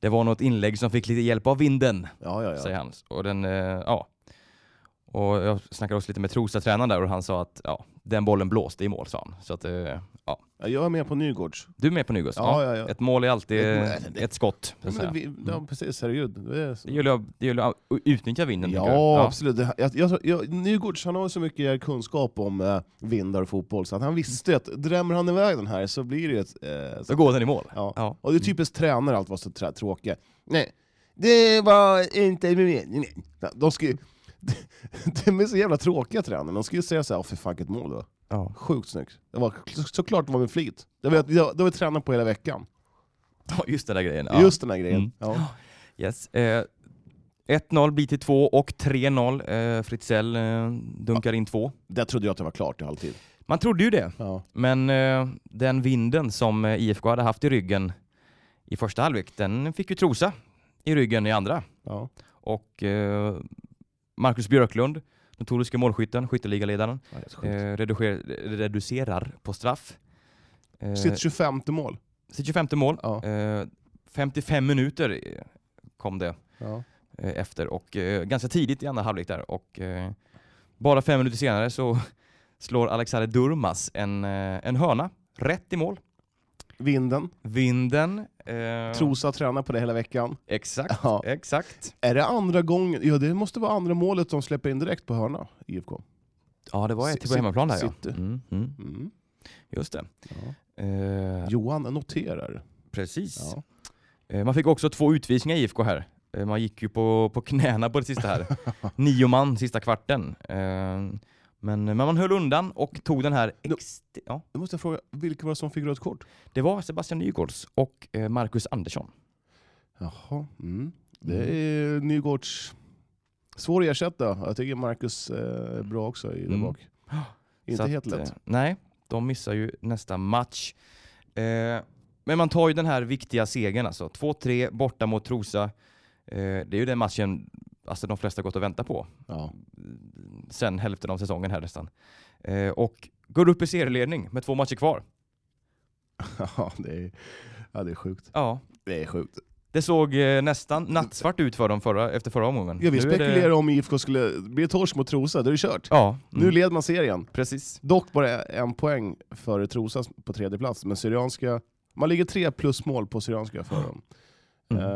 A: det var något inlägg som fick lite hjälp av vinden
B: Ja, ja, ja.
A: säger han. Och, den, eh, ja. och jag snackade också lite med Trosa-tränaren där och han sa att ja, den bollen blåste i mål, sa han. Så att, eh, ja.
B: ja. Jag är med på Nygårds.
A: Du är med på Nygårds?
B: Ja, ja, ja.
A: Ett mål är alltid
B: Ett
A: eh,
B: mål- det-
A: ett skott. Så
B: Ja,
A: att säga. Mm.
B: men vi, ja, precis. Herregud. Det är så-
A: Det gäller att- det gäller att utnyttja vinden.
B: Ja,
A: tycker jag.
B: absolut. Det här- Jag, jag, jag, Nygårds han har ju så mycket kunskap om eh, vindar och fotboll så att han visste att drämmer han iväg den här så blir det ju ett... Eh, så,
A: Då går den i mål.
B: ja.
A: Ja.
B: Och det är typiskt tränare allt var så trä- tråkiga. Nej, det var inte meningen. De ska ju... De är så jävla tråkiga tränare. De ska ju säga såhär, åh fy fan vilket mål det var.
A: Ja.
B: Sjukt snyggt. Det var, så- såklart det var med flit. Det var, det var, det var tränat på hela veckan.
A: Ja, Just den där grejen. Ja.
B: Just den här grejen.
A: Mm.
B: Ja.
A: Yes. Eh, 1-0 blir till 2 och 3-0. Eh, Fritzell eh, dunkar in två.
B: Där trodde jag att det var klart i halvtid.
A: Man trodde ju det,
B: Ja.
A: men eh, den vinden som eh, IFK hade haft i ryggen i första halvlek, den fick ju Trosa i ryggen i andra.
B: Ja.
A: och eh, Marcus Björklund, notoriska målskytten, skytteligaledaren,
B: Ja, det är sjukt.
A: eh, reducer, reducerar på straff. Eh,
B: Sitt 25 mål.
A: sitt 25 mål.
B: Ja.
A: Eh, 55 minuter eh, kom det
B: Ja.
A: eh, efter och eh, ganska tidigt i andra halvlek där och eh, bara fem minuter senare så slår Alexander Durmas en, eh, en hörna rätt i mål.
B: Vinden.
A: Vinden. Eh,
B: Trosa tränar på det hela veckan.
A: Exakt,
B: Ja.
A: exakt.
B: Är det andra gången? Ja, det måste vara andra målet de släpper in direkt på hörna, IFK.
A: Ja, det var ett
B: Sit-
A: på hemmaplan där ja.
B: sitter.
A: Mm, mm.
B: Mm.
A: Just det.
B: Ja.
A: Eh,
B: Johan noterar.
A: precis.
B: Ja.
A: Eh, Man fick också två utvisningar i IFK här. Eh, Man gick ju på, på knäna på det sista här. Nio man sista kvarten. Eh, Men, men man höll undan och tog den här...
B: No.
A: Ext- ja,
B: Nu måste jag fråga, vilka var det som fick rött kort?
A: det var Sebastian Nygårds och eh, Marcus Andersson.
B: Jaha. Mm. Det är Nygårds. Svår att ersätta. Jag tycker Marcus eh, är bra också i där
A: Mm.
B: bak. Inte
A: Så att,
B: helt lätt.
A: eh, Nej, de missar ju nästa match. Eh, Men man tar ju den här viktiga segern alltså. 2-3 borta mot Trosa. Eh, Det är ju den matchen alltså, de flesta gått och väntat på.
B: Ja.
A: sen hälften av säsongen här nästan. Eh, och går upp i serieledning med två matcher kvar.
B: Ja, det är, ja, det är sjukt.
A: Ja,
B: Det är sjukt.
A: det såg eh, nästan nattsvart ut för dem förra, efter förra omgången.
B: Ja, vi
A: Nu är det-
B: spekulerar om IFK skulle bli torsk mot Trosa, då är det kört.
A: Ja, mm,
B: Nu leder man serien.
A: precis.
B: Dock bara en poäng före Trosa på tredje plats, men Syrianska... Man ligger tre plus mål på Syrianska för dem.
A: Mm.
B: Eh,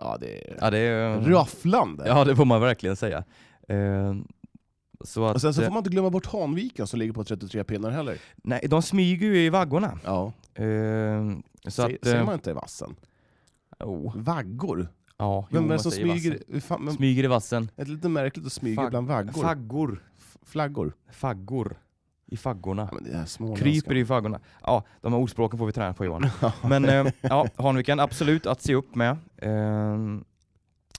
B: ja, det är
A: Ja, det är...
B: Eh, rafflande.
A: Ja, det får man verkligen säga. Eh, så att,
B: Och sen så
A: eh,
B: får man inte glömma bort Hanviken som ligger på 33 pinnar heller.
A: nej, de smyger ju i vaggorna.
B: Ja.
A: Eh, så
B: Se,
A: att...
B: ser
A: Eh,
B: man inte i vassen?
A: oh,
B: Vaggor?
A: ja,
B: Vem
A: jo,
B: är det
A: man
B: som
A: säger vassen.
B: smyger? Fan, men,
A: Smyger i vassen.
B: ett lite märkligt att smyga
A: Fag-
B: bland vaggor.
A: Faggor.
B: F- Flaggor.
A: Faggor. I faggorna.
B: Ja, men det är småländska.
A: Kryper i faggorna. Ja, de här ordspråken får vi träna på Johan. Men eh, ja, Hanviken, absolut att se upp med. Eh,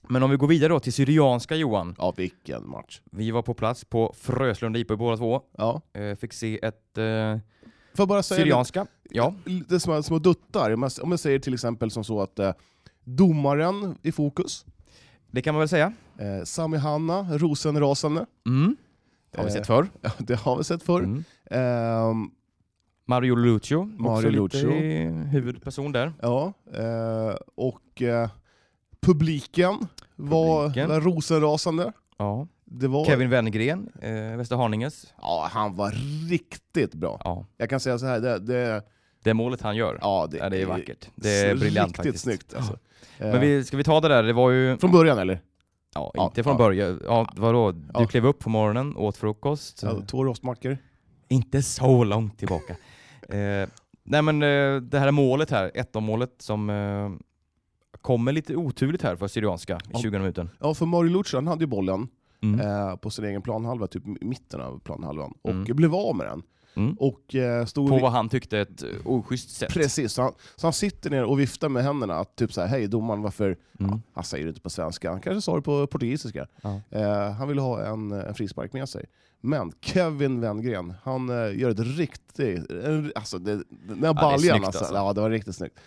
A: men om vi går vidare då till Syrianska Johan.
B: Ja, vilken match.
A: Vi var på plats på Fröslunda IP båda två.
B: Ja.
A: Eh, fick se ett eh,
B: Får jag bara säga
A: Syrianska. Ja,
B: lite, lite små, små duttar? Om jag, om jag säger till exempel som så att eh, domaren i fokus,
A: det kan man väl säga.
B: eh, Sami Hanna, rosenrasande.
A: Mm. Har vi
B: Eh,
A: sett förr.
B: Ja, det har vi sett förr.
A: Mm.
B: Ehm,
A: Mario Lucio, också
B: Mario Lucio.
A: lite i huvudperson där.
B: Ja, eh, och eh, publiken var,
A: Publiken.
B: var rosenrasande.
A: Ja.
B: Det var,
A: Kevin Wennergren, eh, Västerhaninges.
B: Ja, han var riktigt bra.
A: Ja.
B: Jag kan säga så här, det, det,
A: Det målet han gör,
B: ja, det,
A: ja, det är vackert. Det är briljant
B: riktigt
A: faktiskt.
B: snyggt. Alltså. Eh,
A: Men vi, ska vi ta det där? Det var ju
B: Från början eller?
A: Ja,
B: Ja,
A: inte från
B: ja.
A: början. Ja, vadå? Du
B: Ja.
A: klev upp på morgonen, åt frukost.
B: Ja, två rostmackor.
A: Inte så långt tillbaka. eh, nej men eh, det här målet här, 1 målet som eh, kommer lite oturligt här för Syrianska i
B: Ja.
A: 20 minuten.
B: Ja, för Mario Lucic, han hade ju bollen
A: Mm.
B: eh, på sin egen planhalva, typ i mitten av planhalvan, och
A: Mm.
B: blev av med den.
A: Mm.
B: Och eh, stod
A: På
B: vid-
A: vad han tyckte ett eh, oschysst sätt.
B: Precis, så han, så han sitter ner och viftar med händerna, att typ så här, hej domaren, varför...
A: Mm.
B: Han säger det inte på svenska, han kanske sa det på portugisiska.
A: Ja.
B: Eh, han ville ha en, en frispark med sig. Men Kevin Wenngren, han eh, gör ett riktigt... En, alltså, det, den där
A: det är
B: baljan
A: snyggt
B: alltså.
A: alltså.
B: Ja, det var riktigt snyggt.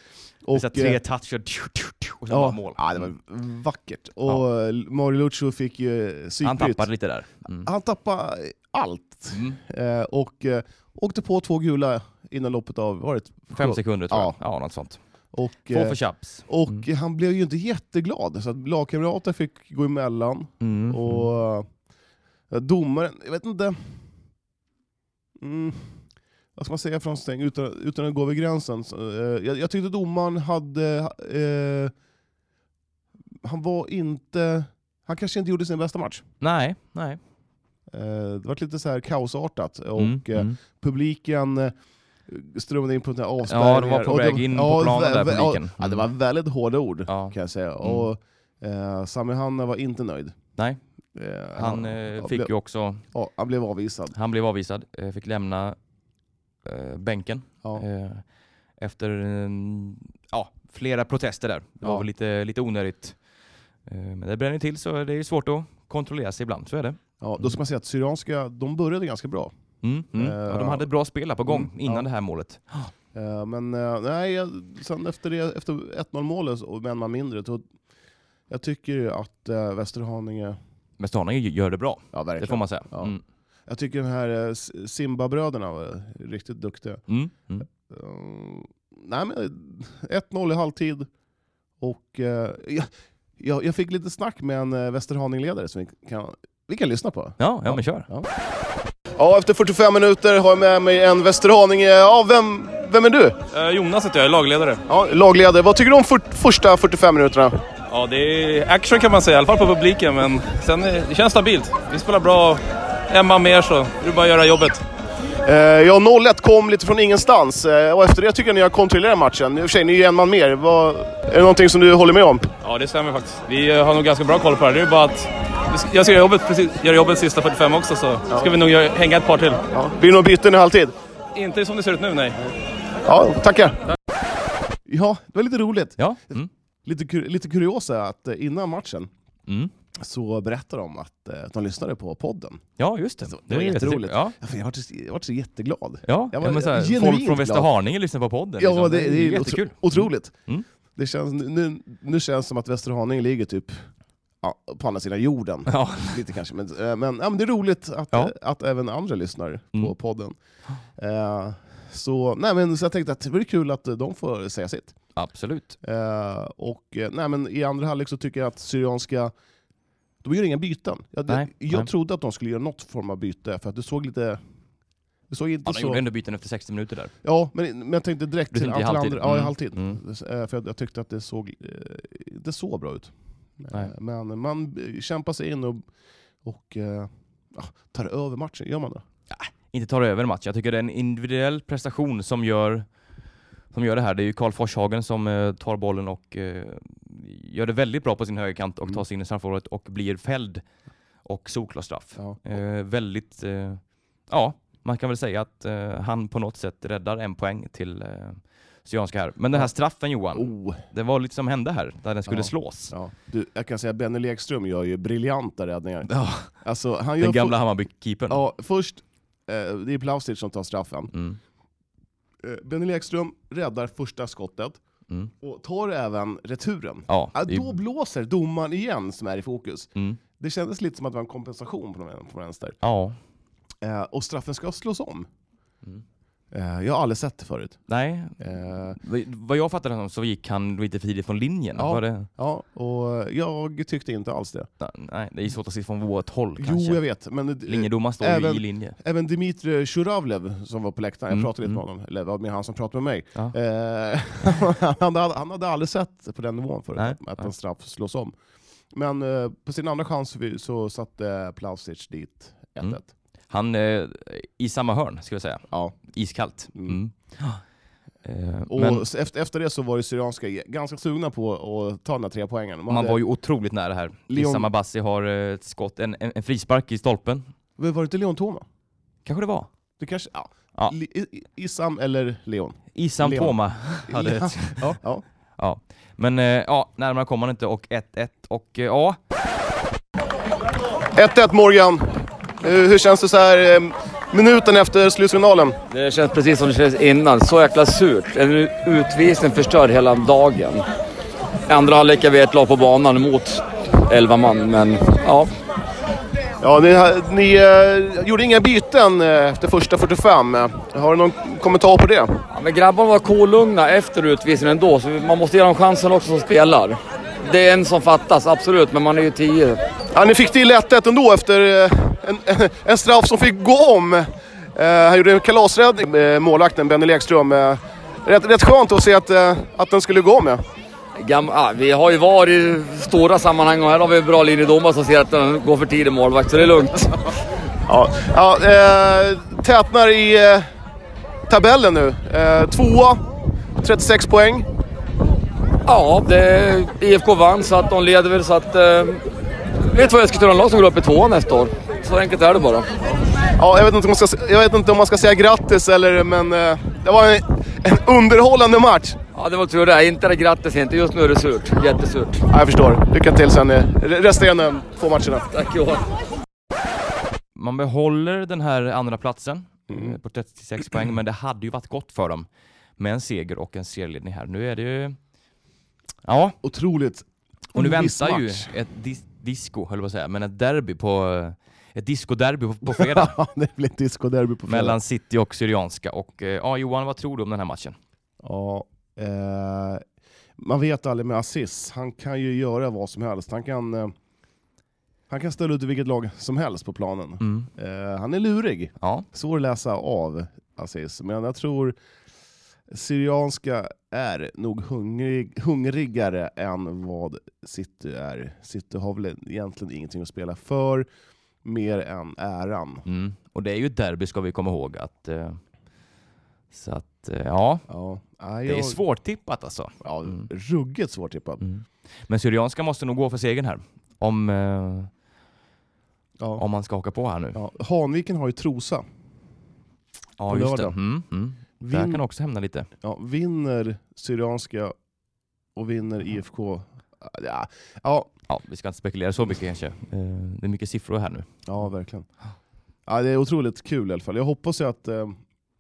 A: Och,
B: Och,
A: så här tre
B: eh,
A: toucher tju, tju, tju, och sen
B: ja,
A: bara mål. Mm.
B: Ja, det var vackert. Och eh, Mario Lucio fick ju
A: han
B: psykbryt.
A: tappade lite där. Mm.
B: Han tappade allt.
A: Mm.
B: Eh, och eh, åkte på två gula innan loppet av... Var det?
A: Fem sekunder tror
B: Mm. Ja.
A: jag. Ja, något sånt.
B: Och,
A: Få
B: eh,
A: för tjafs.
B: och
A: Mm.
B: han blev ju inte jätteglad, så att lagkamrater fick gå emellan.
A: Mm.
B: Och eh, domaren, jag vet inte... Mm, vad ska man säga för någonting utan, utan att gå över gränsen? Så, eh, jag, jag tyckte domaren hade... eh, han var inte... Han kanske inte gjorde sin bästa match.
A: Nej, nej.
B: Eh, det var lite så här kaosartat. Och,
A: Mm,
B: eh,
A: mm.
B: Publiken eh, strömade in på den här avspärrningen.
A: Ja, de var på
B: Och
A: väg in på planen där
B: vä- vä-
A: publiken.
B: Ja, det var väldigt hårda ord
A: Ja.
B: kan jag säga.
A: Mm.
B: Och eh, Sami Hanna var inte nöjd.
A: Nej.
B: Eh,
A: Han eh,
B: han
A: fick
B: blev,
A: ju också
B: ja, han blev avvisad.
A: Han blev avvisad, eh, fick lämna eh, bänken
B: Ja.
A: eh, efter eh, ja, flera protester där. Det
B: Ja.
A: var väl lite, lite onödigt. Eh, men det bränner till så det är svårt att kontrollera sig ibland, så är det.
B: Ja, då ska man säga att Syrianska, de började ganska bra.
A: Mm, mm.
B: Eh,
A: ja, de hade ett bra spel här på gång
B: mm,
A: innan
B: ja.
A: det här målet.
B: Eh, men eh, nej, jag- sen efter, det, efter 1-0 målet och med en man mindre, då, jag tycker ju att eh, Västerhaninge,
A: Men Starninge gör det bra,
B: ja
A: det får
B: verkligen.
A: man säga.
B: Ja.
A: Mm.
B: Jag tycker den här eh, S- Simba-bröderna var riktigt duktiga.
A: Mm. Mm.
B: Eh, nej men 1-0 i halvtid. Och eh, jag, jag, jag fick lite snack med en eh, Västerhaning-ledare som vi kan, vi kan lyssna på.
A: Ja, ja, men kör.
B: Ja, efter 45 minuter har jag med mig en Västerhaning. Eh, Ja, vem, vem är du?
C: Eh, Jonas heter jag, är lagledare.
B: Ja, lagledare. Vad tycker du om fyrt- första 45 minuterna?
C: Ja, det är action kan man säga, i alla fall på publiken. Men sen eh, det känns stabilt. Vi spelar bra. En man mer så det är bara att göra jobbet.
B: Eh, ja, 0-1 kom lite från ingenstans eh, och efter det tycker jag ni har kontrollerat matchen. I och för sig, ni är ju en man mer. Vad, är det någonting som du håller med om?
C: Ja, det stämmer faktiskt. Vi eh, har nog ganska bra koll på det här. Det är bara att jag ska göra jobbet, precis, göra jobbet sista 45 också, så ska vi nog göra, hänga ett par till.
B: Blir det någon byten i halvtid?
C: Inte som det ser ut nu, nej.
B: Ja, tackar. Ja, det var lite roligt.
A: Ja. Mm.
B: Lite, kur- lite kuriosa att eh, innan matchen
A: Mm.
B: så berättade de att eh, de lyssnade på podden.
A: ja, just det.
B: Det var
A: jättetrevligt.
B: jätteroligt.
A: Ja,
B: Ja, för Jag var så, jag vart så jätteglad.
A: ja.
B: Jag
A: ja
B: var
A: men så här,
B: genuint
A: folk från
B: glad.
A: Västerhaninge lyssnar på podden.
B: Ja,
A: liksom.
B: det, det är
A: jättekul.
B: otro, otroligt.
A: Mm.
B: Det känns, nu, nu känns det som att Västerhaninge ligger typ ja, på andra sidan jorden.
A: Ja.
B: Lite kanske, men, eh, men, ja, men det är roligt att,
A: Ja.
B: eh, att även andra lyssnar på
A: Mm.
B: podden. Eh, så, nej, men, så jag tänkte att det vore kul att eh, de får säga sitt.
A: Absolut.
B: Eh, och, eh, nej, men I andra halvlek så tycker jag att Syrianska, de gör inga byten. Jag,
A: Nej,
B: jag
A: nej.
B: trodde att de skulle göra något form av byte, för att du såg lite... Du såg inte
A: Han
B: så...
A: gjorde ändå byten efter 60 minuter där.
B: Ja, men, men jag tänkte direkt
A: Du
B: till
A: tänkte i
B: Antal
A: halvtid?
B: Andra, ja, i
A: Mm.
B: halvtid.
A: Mm.
B: Eh, För jag, jag tyckte att det såg eh, inte så bra ut.
A: Nej.
B: Eh, Men man b- kämpar sig in och, och eh, ja, tar över matchen. Gör man det?
A: Inte tar över match. Jag tycker det är en individuell prestation som gör, som gör det här. Det är ju Karl Forshagen som eh, tar bollen och eh, gör det väldigt bra på sin högerkant och
B: Mm.
A: tar sig in i straffområdet och blir fälld. Och solklar straff.
B: Ja.
A: Eh, väldigt, eh, ja, man kan väl säga att eh, han på något sätt räddar en poäng till eh, Syrianska här. Men den här straffen Johan,
B: Oh,
A: det var lite som hände här, där den skulle
B: Ja.
A: slås.
B: ja. du, jag kan säga att Benny Lekström gör ju briljanta räddningar.
A: Ja,
B: Alltså, han gör
A: den gamla
B: för-
A: Hammarby-keepern.
B: ja, först, eh, det är Plavsic som tar straffen.
A: Mm,
B: Eh, Benny Lekström räddar första skottet
A: mm.
B: och tar även returen.
A: Ja,
B: Ah,
A: det är ju-
B: Då blåser domaren igen som är i fokus.
A: mm.
B: Det kändes lite som att det var en kompensation på någon på vänster.
A: ja.
B: Eh, och straffen ska slås om.
A: Mm.
B: Eh, jag har aldrig sett det förut.
A: Nej,
B: Eh,
A: Vad- Vad jag fattade som så gick han lite för tidigt från linjen.
B: Ja.
A: Var det?
B: ja, och jag tyckte inte alls det.
A: Nej, det är svårt att se från vårt håll
B: Jo,
A: kanske.
B: jag vet. Men eh,
A: Linjedomaren står
B: Även-
A: ju i linje.
B: även Dimitri Shuravlev som var på läktaren, jag
A: Mm,
B: pratade lite
A: mm.
B: med honom, eller det var mer han som pratade med mig.
A: Ja.
B: Eh, han, hade, han hade aldrig sett på den nivån förut,
A: Nej,
B: att, att
A: nej.
B: en straff slås om. Men eh, på sin andra chans vi- så satte Plavsic dit 1-1.
A: Mm. Han eh, i samma hörn, skulle jag säga.
B: Ja.
A: Iskallt.
B: Mm.
A: Mm. Ja. Eh,
B: Och
A: men
B: s- efter, efter det så var ju Syrianska ganska sugna på att ta den här tre poängen.
A: man var ju otroligt nära här.
B: Leon-
A: Leon... Bassi har eh, ett skott, en, en, en frispark i stolpen.
B: Men var det inte Leon Toma?
A: Kanske det var.
B: Det kanske, ja.
A: Ja.
B: Li- I- I- Isam eller Leon?
A: Isam
B: Leon.
A: Poma hade
B: Ja.
A: ett.
B: Ja. Ja.
A: Ja. Men eh, ja, närmare kom han inte och 1-1 och eh, ja,
B: 1-1 Morgan. Eh, Hur hur känns det så här eh, minuten efter slutsignalen?
D: Det känns precis som det kändes innan. Så jäkla surt. En utvisning förstör hela dagen. Andra halvlek är vi ett lag på banan mot 11 man, men ja.
B: Ja, ni, ha- ni eh, gjorde inga byten eh, efter första 45. eh. Har du någon kommentar på det?
D: Ja, Men grabbarna var kolugna efter utvisningen ändå, så man måste ge dem chansen också som spelar. Det är en som fattas, absolut, men man är ju 10.
B: Ja, ni fick till 1-1 ändå efter eh, en, en straff som fick gå om. Eh, Han gjorde en kalasräddning, eh, målvakten Benny Lekström. Eh, Rätt, rätt skönt att se att, eh, att den skulle gå med.
D: Gam- ja, vi har ju VAR i stora sammanhang och här har vi en bra linjedomare som ser att den går för tidigt målvakt, så det är lugnt.
B: Ja, ja eh, tätnar i eh, tabellen nu. Eh, tvåa, 36 poäng.
D: Ja, det, IFK vann så att de leder väl så att... Eh, vet vad Eskilstuna lag som går upp i tvåan nästa år. Så enkelt är det bara.
B: Ja, jag, vet inte om man ska, jag vet inte om man ska säga grattis eller, men eh, det var en, en underhållande match.
D: Ja, det var tur det. Inte det grattis inte. Just nu är det surt. Jättesurt.
B: Ja, jag förstår. Lycka till sen eh, re- resterande två matcherna.
D: Tack Johan.
A: man behåller den här andra platsen
B: Mm.
A: eh, på 36 poäng, men det hade ju varit gott för dem med en seger och en serieledning här. Nu är det ju... Ja,
B: Otroligt.
A: och nu
B: Oviss
A: väntar ju
B: match.
A: ett dis- disco, höll jag på att säga, men ett derby på... eh, Ett discoderby på, på fredag
B: Ja, det blir ett discoderby på fredag.
A: mellan City och Syrianska. Och eh, ja, Johan, vad tror du om den här matchen?
B: Ja, eh, man vet aldrig med Aziz. Han kan ju göra vad som helst. Han kan, eh, han kan ställa ut vilket lag som helst på planen.
A: Mm.
B: Eh, han är lurig.
A: Ja,
B: Svår att läsa av Aziz, men jag tror Syrianska är nog hungrig, hungrigare än vad City är. City har väl egentligen ingenting att spela för, mer än äran.
A: Mm. Och det är ju ett derby ska vi komma ihåg att... Eh, så att, eh, ja.
B: Ja, nej,
A: Det är
B: jag-
A: svårtippat alltså.
B: Ja, ruggigt svårtippat.
A: Mm. Men Syrianska måste nog gå för segern här. Om, eh,
B: Ja.
A: om man ska haka på här nu.
B: Ja. Hanviken har ju Trosa.
A: Ja,
B: på
A: just det.
B: lördag.
A: Mm, mm. Där
B: Vin,
A: kan också hämna lite.
B: ja, vinner Syrianska och
A: Mm.
B: vinner IFK. Ja, ja,
A: Ja, vi ska inte spekulera så mycket kanske. Eh, Det är mycket siffror här nu.
B: ja verkligen. Ja, det är otroligt kul i alla fall. Jag hoppas ju att eh,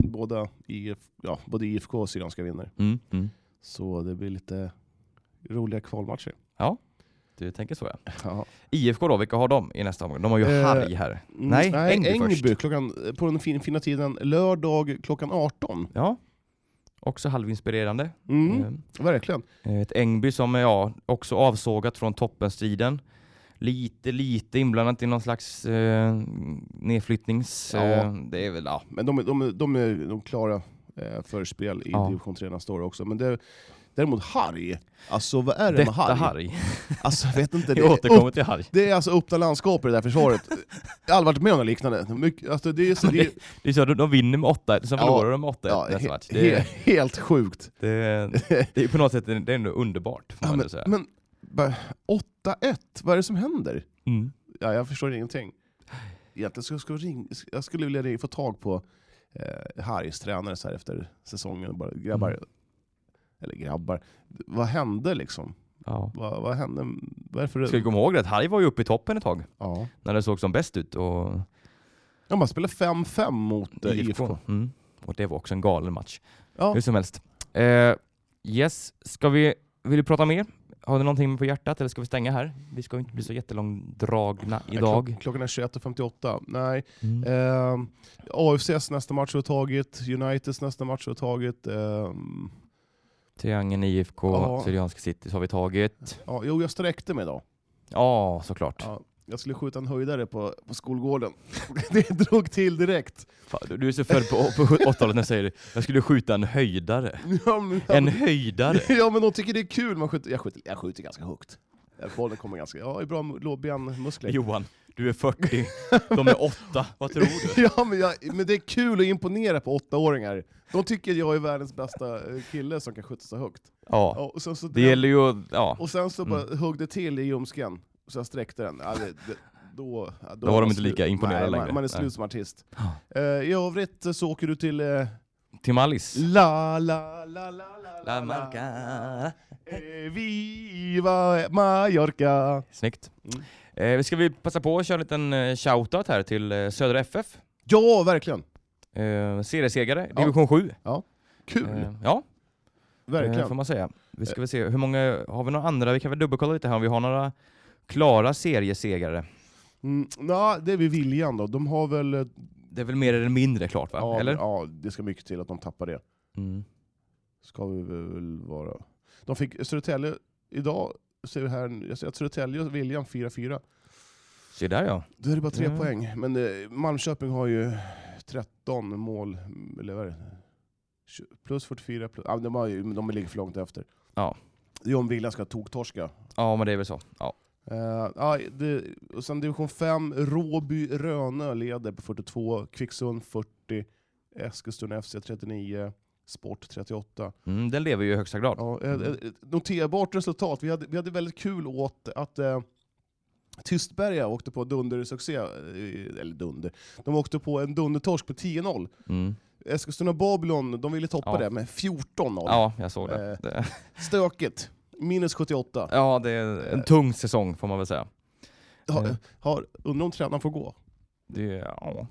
B: båda IF, ja, både IFK och Syrianska vinner.
A: Mm, mm.
B: Så det blir lite roliga kvalmatcher.
A: Du tänker så ja.
B: Ja.
A: IFK då, vilka har de i nästa omgång? De har ju
B: Eh,
A: Harg här.
B: Mm,
A: Nej, Ängby först.
B: klockan, på den fin, fina tiden lördag klockan 18.
A: Ja. Också halvinspirerande.
B: Mm,
A: Eh,
B: Verkligen.
A: Ett Engby som är ja, också avsågat från toppenstriden. Lite, lite inblandat i någon slags eh, nedflyttnings...
B: Ja.
A: Eh, det är väl, ja.
B: Men de, är- de, är- de är de klara eh, för spel i
A: Ja.
B: division 3 nästa år också. Men det, däremot Harry, alltså vad är det
A: Detta
B: med Harry?
A: Harry.
B: Alltså jag vet inte. Det,
A: Vi
B: är
A: återkommer
B: upp,
A: till Harry.
B: det är alltså öppna landskapet i det där försvaret. Jag har aldrig varit med om något liknande. Mycket, alltså, det är, så, det är,
A: Det är så, att de vinner med 8 sen
B: Ja.
A: förlorar de med 8
B: ja,
A: nästa
B: he,
A: match. Det,
B: he, helt sjukt.
A: det, det är på något sätt det är ändå underbart, får
B: Ja,
A: man ändå
B: men
A: säga.
B: men bara 8-1, vad är det som händer?
A: Mm.
B: Ja, jag förstår ingenting. Egentligen skulle jag, skulle ring, jag skulle vilja ring- få tag på eh, Harrys tränare så här efter säsongen. och Bara, grabbar,
A: Mm.
B: eller grabbar, vad hände liksom?
A: Ja.
B: Vad, vad hände? Varför?
A: Ska vi komma ihåg det att Harry var ju uppe i toppen ett tag,
B: Ja.
A: när det såg som bäst ut. Och
B: ja, man spelar 5-5 mot eh, IFK.
A: Mm. Och det var också en galen match.
B: Ja.
A: Hur som helst. Eh, yes, ska vi, vill du prata mer? Har du någonting på hjärtat eller ska vi stänga här? Vi ska ju inte bli så jättelångdragna
B: Nej,
A: idag.
B: klock- Klockan är 21.58. Nej.
A: Mm.
B: Eh, AFCs nästa match har tagit, Uniteds nästa match har tagit. Eh,
A: Triangeln, IFK,
B: Ja.
A: Syrianska City så har vi tagit.
B: ja, jo, jag sträckte mig idag.
A: Ja, såklart.
B: Ja, jag skulle skjuta en höjdare på, på skolgården. Det drog till direkt.
A: Fan, du- Du är så född på, på 80-talet när jag säger det. Jag skulle skjuta en höjdare.
B: Ja, men,
A: En höjdare?
B: ja, men de tycker det är kul. Man skjuter, jag, skjuter, jag skjuter ganska högt. Bollen kommer ganska... Ja, det är bra mu- lårbenmuskler.
A: Johan, du är 40. De är 8. Vad tror du?
B: Ja, men, jag, men det är kul att imponera på åttaåringar. De tycker jag är världens bästa eh, kille som kan skjuta så högt.
A: Ja,
B: Ja, och, sen så
A: det gäller Mm. ju att... Ja,
B: och sen så bara högg det till i ljumsken, så jag sträckte den. Ja, det, det, då, ja,
A: Då var
B: är
A: de
B: man
A: inte lika
B: slut.
A: imponerade
B: Nej,
A: längre.
B: Man, man är
A: Nej.
B: slut som artist. Eh, I övrigt eh, så åker du till eh,
A: till Alice.
B: La la la la la la Eh, Viva Mallorca!
A: Snyggt.
B: Mm.
A: Eh, ska vi passa på att köra en liten eh, shoutout här till eh, Södra FF?
B: Ja, verkligen!
A: Eh, seriesegare,
B: Ja.
A: division 7.
B: Kul!
A: Eh, ja, eh, får
B: verkligen.
A: man säga. Vi ska väl se, hur många, har vi några andra? Vi kan väl dubbelkolla lite här om vi har några klara seriesegare.
B: Mm, na, det är vid viljan då. De har väl... eh,
A: Det är väl mer eller mindre klart va?
B: Ja,
A: eller?
B: ja, det ska mycket till att de tappar det.
A: Mm.
B: Ska vi väl vara. De fick Södertälje idag, ser vi här, jag ser att Södertälje och Viljan 4-4.
A: Se där ja.
B: Då är det bara tre
A: Ja.
B: poäng. Men eh, Malmköping har ju 13 mål, eller vad är det? Tju- Plus 44, plus, ja, de, har ju, de ligger för långt efter.
A: Ja.
B: Det är om Viljan ska toktorska.
A: Ja men det är väl så. Ja.
B: Eh, ja, det, och sen division 5, Råby Rönö leder på 42, Kvicksund 40, Eskilstuna FC 39, Sport 38.
A: Mm, den lever ju i högsta grad.
B: Ja, eh, eh, noterbart resultat. Vi hade, vi hade väldigt kul åt att eh, Tystberga åkte på dundersuccé, eh, eller dunder, de åkte på en dundertorsk på 10-0.
A: Mm.
B: Eskilstuna Babylon, de ville toppa
A: Ja.
B: det med 14-0.
A: Ja, jag såg det.
B: Eh.
A: det.
B: Stökigt. Minus 78.
A: Ja, det är en tung säsong får man väl säga.
B: Har,
A: Eh.
B: har, undrar om tränaren får gå?
A: Det, ja.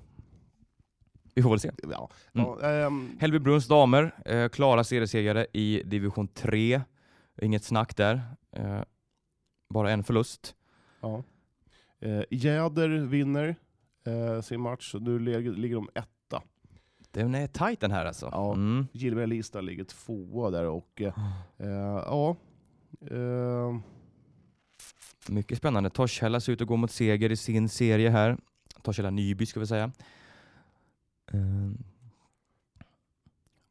A: Vi får väl se.
B: Ja.
A: Mm.
B: Ja, ehm,
A: Hällby Bruns damer, eh, klara seriesegare i division 3. Inget snack där. Eh, bara en förlust.
B: Ja. Eh, Jäder vinner eh, sin match, och nu ligger, ligger de etta.
A: Den är tajt den här alltså.
B: Ja.
A: Mm.
B: Gillberg Lista ligger tvåa där och eh,
A: Ah.
B: eh, ja. Eh,
A: Mycket spännande. Torshälla ser ut att gå mot seger i sin serie här. Torshälla Nyby ska vi säga. Eh,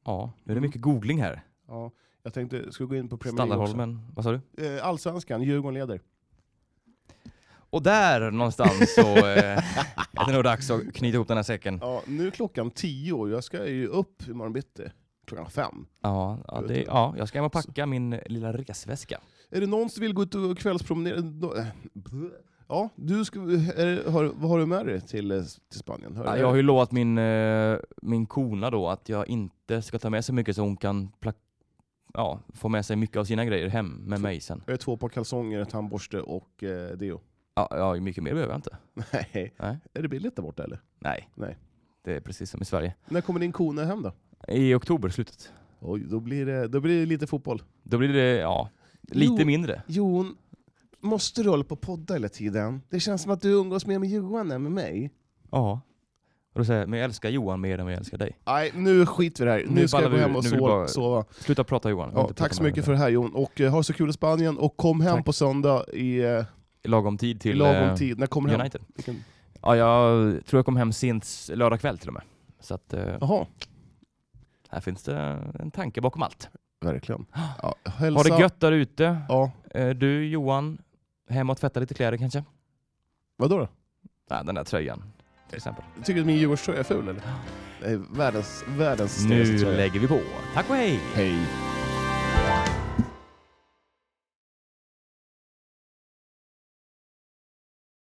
A: ja, nu är det
B: Mm.
A: mycket googling här.
B: ja. Jag tänkte, ska vi gå in på Premier League också?
A: Stallarholmen, vad sa du?
B: Eh, Allsvenskan, Djurgården leder.
A: Och där någonstans så eh, är det nog dags att knyta ihop den här säcken.
B: Ja, nu är klockan tio, jag ska ju upp imorgon bitti. Klockan fem.
A: Ja, ja, det, ja jag ska hem och packa min lilla resväska.
B: Är det någon som vill gå ut och kvällspromenera? Nå- eh, blö. Ja, du ska, är det, har, vad har du med dig till, eh, till Spanien? Hör,
A: Ja, jag har ju lovat min, eh, min kona då att jag inte ska ta med så mycket så hon kan pla- ja, få med sig mycket av sina grejer hem med mig sen.
B: jag har två par kalsonger, tandborste och eh, deo.
A: Ja, ja, mycket mer behöver jag inte.
B: Nej.
A: Nej.
B: Är det billigt där borta eller?
A: Nej.
B: Nej.
A: Det är precis som i Sverige.
B: När kommer din kone hem då?
A: I oktober, slutet.
B: Oj, då blir det, då blir det lite fotboll.
A: Då blir det, ja, lite
B: Jo.
A: mindre.
B: Jon, måste du hålla på och podda hela tiden? Det känns som att du umgås mer med Johan än med mig.
A: Ja. Och då säger jag, men jag älskar Johan mer än vad jag älskar dig.
B: Nej, nu skiter vi i det här. Nu,
A: Nu
B: ska jag
A: ballar vi
B: gå hem
A: ur.
B: och
A: Nu är det
B: sova.
A: bara-
B: sova.
A: Sluta prata Johan. Jag vill
B: Ja,
A: inte prata
B: tack så
A: med dig.
B: mycket för det här Jon, och eh, ha så kul i Spanien, och kom hem
A: Tack.
B: på söndag i eh,
A: Lagom tid till
B: lagom
A: eh,
B: tid. När kommer du hem?
A: United.
B: Vilken-
A: Ja, jag tror jag kom hem sent s- lördag kväll till och med. Så att eh,
B: Jaha,
A: här finns det en tanke bakom allt.
B: verkligen. Ja, hälsa.
A: Ha det gött där ute.
B: Ja,
A: Eh, Du Johan, hem och tvätta lite kläder kanske?
B: vadå då?
A: Nej, den där tröjan till exempel.
B: Tycker du att min Djurgårdströja är ful eller? Det är världens, världens
A: Nu
B: tröja.
A: lägger vi på. Tack och hej!
B: Hej.